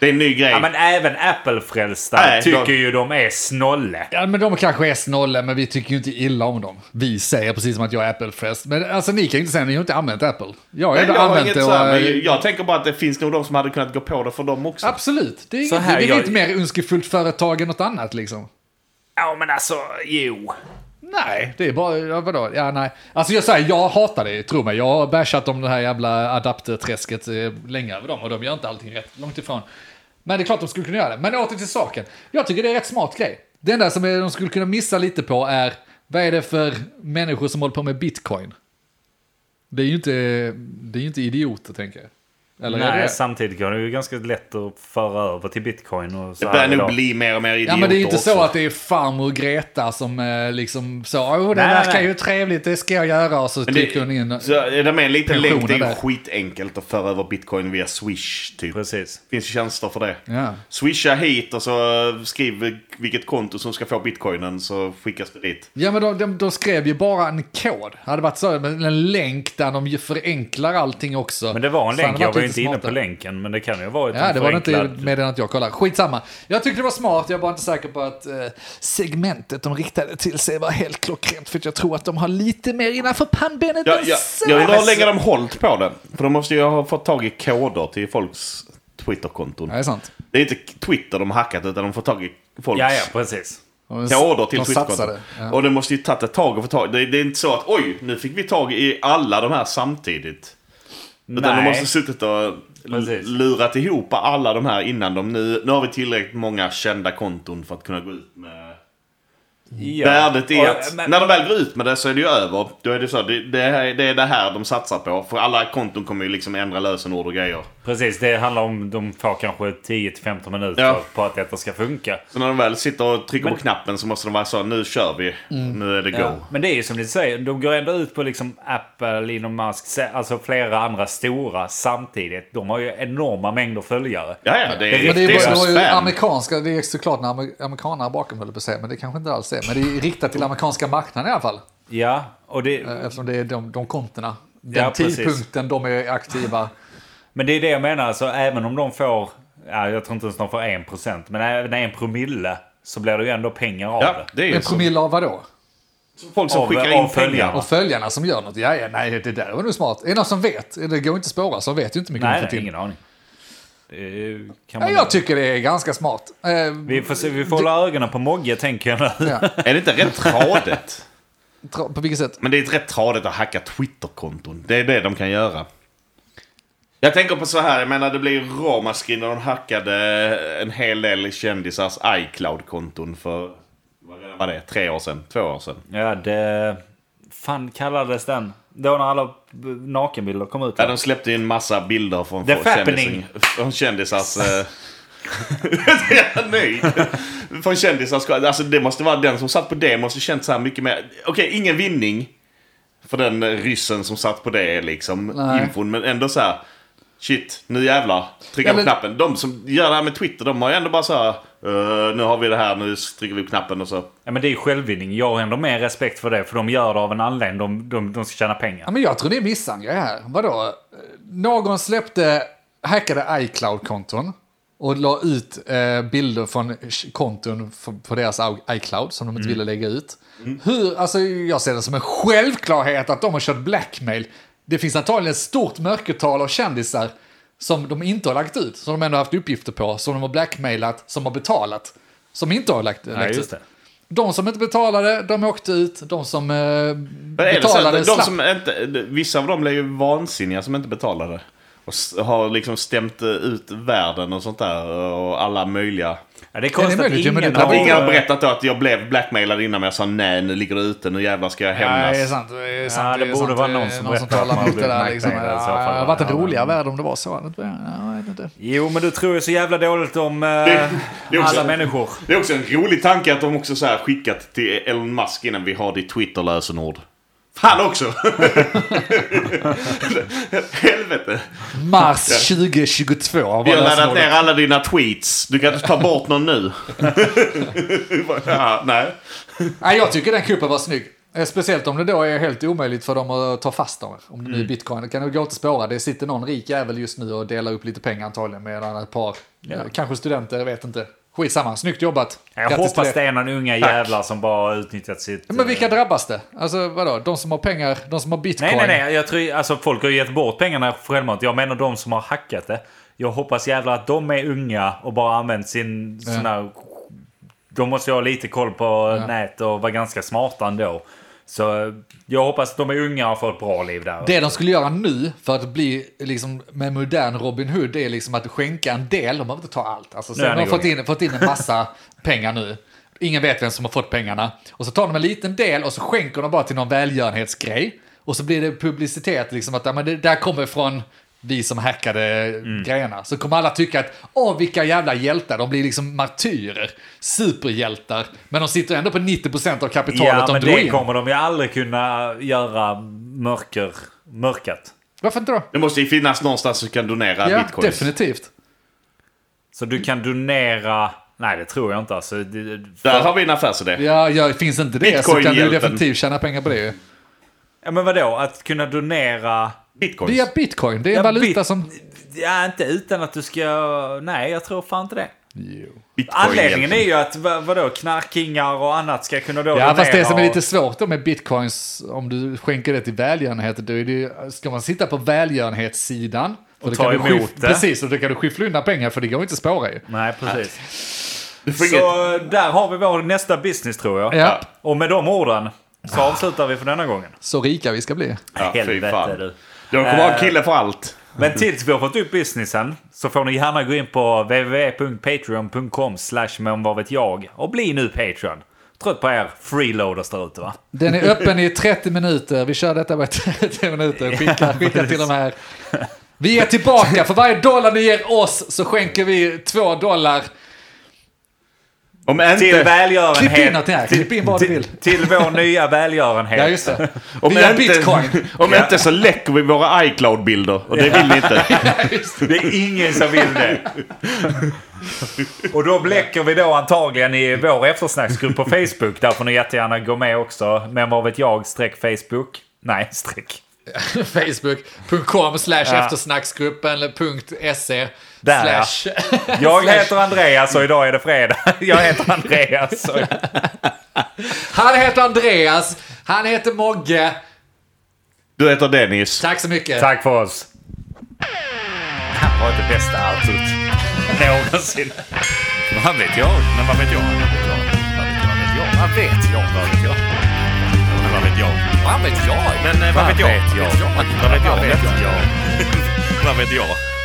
D: Det är en ny grej.
A: Ja, men även Apple-frälsta
D: Nej,
A: tycker
D: de-
A: ju de är snolle.
B: Ja, men de kanske är snolla, men vi tycker ju inte illa om dem. Vi säger precis som att jag är Apple-frest. Men alltså ni kan ju inte säga, ni har inte använt Apple. Jag har
D: Nej,
B: ändå
D: jag, har
B: använt
D: inget
B: det
D: så
B: och...
D: här, men jag tänker bara att det finns nog de som hade kunnat gå på det för dem också.
B: Absolut, det är
A: Så
B: inget,
A: här,
B: det är
A: jag-
B: inte mer önskefullt företag än något annat liksom.
A: Ja, men alltså, jo.
B: Nej, det är bara, ja, vadå, ja nej. Alltså jag säger, jag hatar det, tro mig. Jag har bashat om det här jävla adapterträsket eh, länge över dem och de gör inte allting rätt, långt ifrån. Men det är klart de skulle kunna göra det. Men åter till saken. Jag tycker det är rätt smart grej. Det enda som de skulle kunna missa lite på är, vad är det för människor som håller på med bitcoin? Det är ju inte, det är ju inte idioter tänker jag. Eller är det
A: Nej,
B: det?
A: samtidigt går det ju ganska lätt att föra över till bitcoin och så
D: Det
A: här
D: börjar nog
A: idag.
D: bli mer och mer idioter
B: Ja men det är ju inte
D: också.
B: så att det är farmor Greta som eh, liksom så, åh det
A: Nej,
B: verkar
A: nej.
B: ju trevligt, det ska jag göra. Och så
D: Men det-
B: trycker hon in.
D: Så är det med en liten länk, det är
B: Pensioner där.
D: ju skitenkelt att föra över bitcoin via Swish. Typ.
A: Precis.
D: Det finns ju tjänster för det.
B: Ja.
D: Swisha hit och så eh, skriv vilket konto som ska få bitcoinen så skickas det dit.
B: Ja men de, de, de skrev ju bara en kod. Det hade varit så, men en länk där de ju förenklar allting också.
A: Men det var en
B: Så hade
A: länk,
B: det
A: jag
B: varit
A: var
B: lite
A: inte inne på
B: smarta.
A: länken, men det kan ju ha varit
B: Ja,
A: en
B: det var inte
A: förenklad-
B: med den att jag kollade. Skitsamma. Jag tyckte det var smart, jag var inte säker på att eh, segmentet de riktade till sig var helt klockrent. För att jag tror att de har lite mer innanför pannbenet
D: Jag,
B: än
D: jag,
B: så.
D: jag undrar hur länge de hållit på det. För de måste ju ha fått tag i koder till folks Twitterkonton.
B: Ja, det är sant.
D: Det är inte Twitter de har hackat utan de har fått tag i folks
A: Ja, ja, precis.
B: De-
D: koder till
B: de
D: Twitterkonton.
B: satsade. Ja.
D: Och det måste ju tagit ett tag att få tag det, det är inte så att oj, nu fick vi tag i alla de här samtidigt. Utan de
A: Nej.
D: måste ha suttit och l-
A: Precis.
D: lurat ihop alla de här innan de nu... Nu har vi tillräckligt många kända konton för att kunna gå ut med...
A: Ja.
D: Värdet är
A: Och-
D: att
A: men-
D: när de väl går ut med det så är det ju över. Då är det så, det, det, här- det är det här de satsar på. För alla konton kommer ju liksom ändra lösenord och grejer.
A: Precis, det handlar om de får kanske 10-15 minuter
D: Ja.
A: på att detta ska funka.
D: Så när de väl sitter och trycker
A: Men-
D: på knappen så måste de vara så, nu kör vi. Nu är det go.
A: Men det är ju som ni säger, de går ändå ut på liksom Apple, Elon Musk, se- alltså flera andra stora samtidigt. De har ju enorma mängder följare.
D: Ja, ja, det är
A: Men
B: Men det, är,
D: riktigt
B: bara- det var ju
D: spam.
B: amerikanska, det är såklart när amer- amerikaner bakom höll jag på att säga, men det kanske inte alls är. Men det är riktat till amerikanska marknaden i alla fall.
A: Ja, och det,
B: Eh, Eftersom det är de, de kontona. Den
A: Ja, precis.
B: tidpunkten de är aktiva.
A: men det är det jag menar, alltså, även om de får, ja, jag tror inte ens de får 1%, men även en promille så blir det ju ändå pengar av
D: Ja, Mm,
A: det.
D: det eh, är ju
B: En
D: så.
B: promille av vadå?
D: Folk som
A: av-
D: skickar
A: av
D: in
A: följare.
D: pengar.
A: Ja.
B: Och följarna som gör något. Ja, ja, nej, det där var nog smart. Är det någon som vet? Det går inte att spåra, så de vet ju inte mycket om
A: Nej,
B: fått
A: nej,
B: in.
A: ingen aning. Det kan
B: Ja,
A: man...
B: jag tycker det är ganska smart. Eh,
A: vi får, se- vi får hålla ögonen på Mogge tänker jag nu.
B: ja.
D: <laughs> Är det inte rätt tradigt?
B: Tra- På vilket sätt?
D: Men det är rätt tradigt att hacka Twitter-konton. Det är det de kan göra. Jag tänker på så här, jag menar det blev ju ramaskri när de hackade en hel del kändisars iCloud-konton för, vad var det, tre år sedan? Två år sedan?
A: Ja, det... Fan kallades den? Då när alla b- nakenbilder kom ut.
D: Ja, de släppte ju en massa bilder från,
A: The
D: från
A: Fappening.
D: från
A: <laughs>
D: kändisars... eh, ja, nej! Från kändisars... Alltså det måste vara den som satt på det måste känt så här mycket mer... Okej, ingen vinning för den eh, ryssen som satt på det liksom,
B: Nej.
D: infon. Men ändå så här... Shit, nu jävlar. Trycka
B: Eller-
D: på knappen. De som gör det här med Twitter, de har ju ändå bara så här... eh, nu har vi det här, nu trycker vi på knappen och så...
A: Ja, men det är ju självvinning. Jag har ändå mer respekt för det. För de gör det av en anledning. De, de, de ska tjäna pengar.
B: Ja, men jag tror det är missangrepp här. Vadå? Eh, Någon släppte, hackade iCloud-konton och la ut eh, bilder från sh- konton f- på deras au- iCloud som de
D: Mm.
B: inte ville lägga ut. Hur, alltså, jag ser det som en självklarhet att de har kört blackmail. Det finns antagligen ett stort mörkertal av kändisar som de inte har lagt ut, som de ändå haft uppgifter på, som de har blackmailat, som har betalat, som inte har lagt, lagt
A: Nej, just
B: ut.
A: det.
B: De som inte betalade, de åkte ut. De som eh,
D: Men är det så
B: betalade
D: att de
B: slapp.
D: som inte, vissa av dem blev ju vansinniga som inte betalade. Och s- har liksom stämt eh, ut världen och sånt där och alla möjliga.
A: Ja, det är konstigt
B: Ja, det är
A: att
B: möjligt, ja, men
A: ingen
B: det-
A: har...
D: Att ingen har
A: Ja,
D: berättat då att jag blev blackmailad innan men jag sa nej nu ligger det ute, nu jävlar ska jag
B: Ja,
D: hämnas.
B: det är sant. Det, är sant,
A: Ja, det
B: är
A: borde
B: sant.
A: vara
B: Det
A: någon
B: är
A: som
B: någon som
A: berättar att
B: talar
A: man har
B: mot det
A: blivit
B: där.
A: märkt
B: Liksom.
A: med det i så
B: Ja,
A: fall.
B: det hade varit en
A: Ja, men-
B: roligare värld om det var så. Ja, Jag vet inte.
A: Jo, men du tror ju så jävla dåligt om eh,
D: det är också-
A: alla människor.
D: Det är också en rolig tanke att de också så här skickat till Elon Musk innan vi har ditt Twitter-lösenord. Fan också! <laughs> Helvete!
B: Mars 2022 var
D: Vi har laddat
B: lösenordet.
D: ner alla dina tweets. Du kan inte ta bort någon nu. <laughs> ja, nej.
B: Nej, Jag tycker den kuppen var snygg. Eh, Speciellt om det då är helt omöjligt för dem att ta fast dem. Om det nu är
A: Mm.
B: bitcoin. Det kan nog gå att spåra. Det sitter någon rik jävel just nu och delar upp lite pengar antagligen. Medan ett par, eh, kanske studenter, jag vet inte. Skitsamma, snyggt jobbat.
A: Jag
B: Grattis till
A: hoppas
B: det.
A: det är någon unga jävlar som bara har utnyttjat sitt...
B: Ja, Men vilka
A: eh,
B: drabbas det? Alltså vadå? De som har pengar, de som har bitcoin.
A: Nej, nej, nej. Jag tror, alltså, folk har ju gett bort pengarna självmant. Jag menar de som har hackat det. Jag hoppas jävlar att de är unga och bara använt sin... Sån här, de måste ju ha lite koll på nät och vara ganska smarta ändå. Så eh, jag hoppas att de är unga och får ett bra liv där.
B: Det de skulle göra nu för att bli liksom, med modern Robin Hood det är liksom att skänka en del, de behöver inte ta allt. Alltså,
A: Nu är
B: sen har de
A: ni
B: fått
A: igång.
B: in, fått in en massa
A: <laughs>
B: pengar nu. Ingen vet vem som har fått pengarna. Och så tar de en liten del och så skänker de bara till någon välgörenhetsgrej. Och så blir det publicitet, liksom att ja, men det där kommer från vi som hackade
A: Mm.
B: grejerna. Så kommer alla tycka att åh vilka jävla hjältar, de blir liksom martyrer, superhjältar. Men de sitter ändå på 90% av kapitalet
A: ja,
B: de
A: men
B: drog
A: det
B: in.
A: kommer de ju aldrig kunna göra mörker, mörkat.
B: Varför inte då?
D: Det måste ju finnas någonstans du kan donera
B: Ja,
D: bitcoins.
B: definitivt.
A: Så du kan donera... Nej, det tror jag inte. Alltså, det, det-
D: Där har vi en affärsidé.
B: Ja, ja, finns inte det så kan du
D: Bitcoin-hjälpen.
B: definitivt tjäna pengar på det ju.
A: Ja men vadå? Att kunna donera
D: Bitcoins.
B: Via bitcoin. Det är en valuta
A: bit-
B: som...
A: Ja, inte utan att du ska... Nej, jag tror fan inte det.
B: Jo.
D: Bitcoin
A: Anledningen är
D: egentligen.
A: ju att va- vadå, knarkingar och annat ska kunna då...
B: Ja, fast det
A: donera
B: som är lite
A: och-
B: svårt då med bitcoins, om du skänker det till välgörenhet, då är det, ju- ska man sitta på välgörenhetssidan. Och
A: ta
B: du
A: emot
B: skyff-
A: det.
B: Precis, och då kan du skyffla undan pengar för det går inte att spåra ju.
A: Nej, precis.
D: Du får inget-
A: Så där har vi vår nästa business tror jag.
B: Ja,
A: Och med de orden så avslutar vi för denna gången.
B: så rika vi ska bli.
D: Ja, fy
A: Helvete
D: fan.
A: du.
D: De kommer ha en
A: Eh.
D: kille för allt.
A: Men tills vi har fått upp businessen så får ni gärna gå in på www.patreon.com slash men vad vet jag och bli nu Patreon. Trött på er freeloaders där ute va?
B: Den är öppen i 30 minuter. Vi kör detta med 30 minuter. Skicka, skicka till de här. Vi är tillbaka. För varje dollar ni ger oss så skänker vi två dollar.
D: Om
A: Till
D: inte,
B: Klipp in något
A: välgörenhet.
B: här. Klipp in vad du vill.
A: Till, till vår nya
B: Ja,
A: välgörenhet. <laughs>
B: just det.
D: om
B: Via
D: inte,
B: bitcoin.
D: <laughs>
B: <laughs>
D: om inte så läcker vi våra iCloud-bilder. Och det vill ni inte.
A: Det är ingen som vill det. Och då bläcker vi då antagligen i vår eftersnacksgrupp på Facebook. Där får ni jättegärna gå med också. Men vad vet jag? Streck Facebook. Nej, streck.
B: Facebook.com slash
A: Ja.
B: eftersnacksgruppen eller punkt .se
A: Där, ja.
B: slash... <laughs>
A: Jag heter Andreas och idag är det fredag. Jag heter Andreas. Och...
B: Han heter Andreas. Han heter Mogge.
D: Du heter Dennis.
B: Tack så mycket.
A: Tack för oss. Det här var det bästa outrot någonsin. Vad vet jag? Men vad vet jag? Vad vet jag? Vad vet jag? Vad vet jag? Vad vet jag? Men vad vet jag? Vad vet jag? Men eh, vad vet jag? Vad vet jag? Vad vet jag? Vad vet jag?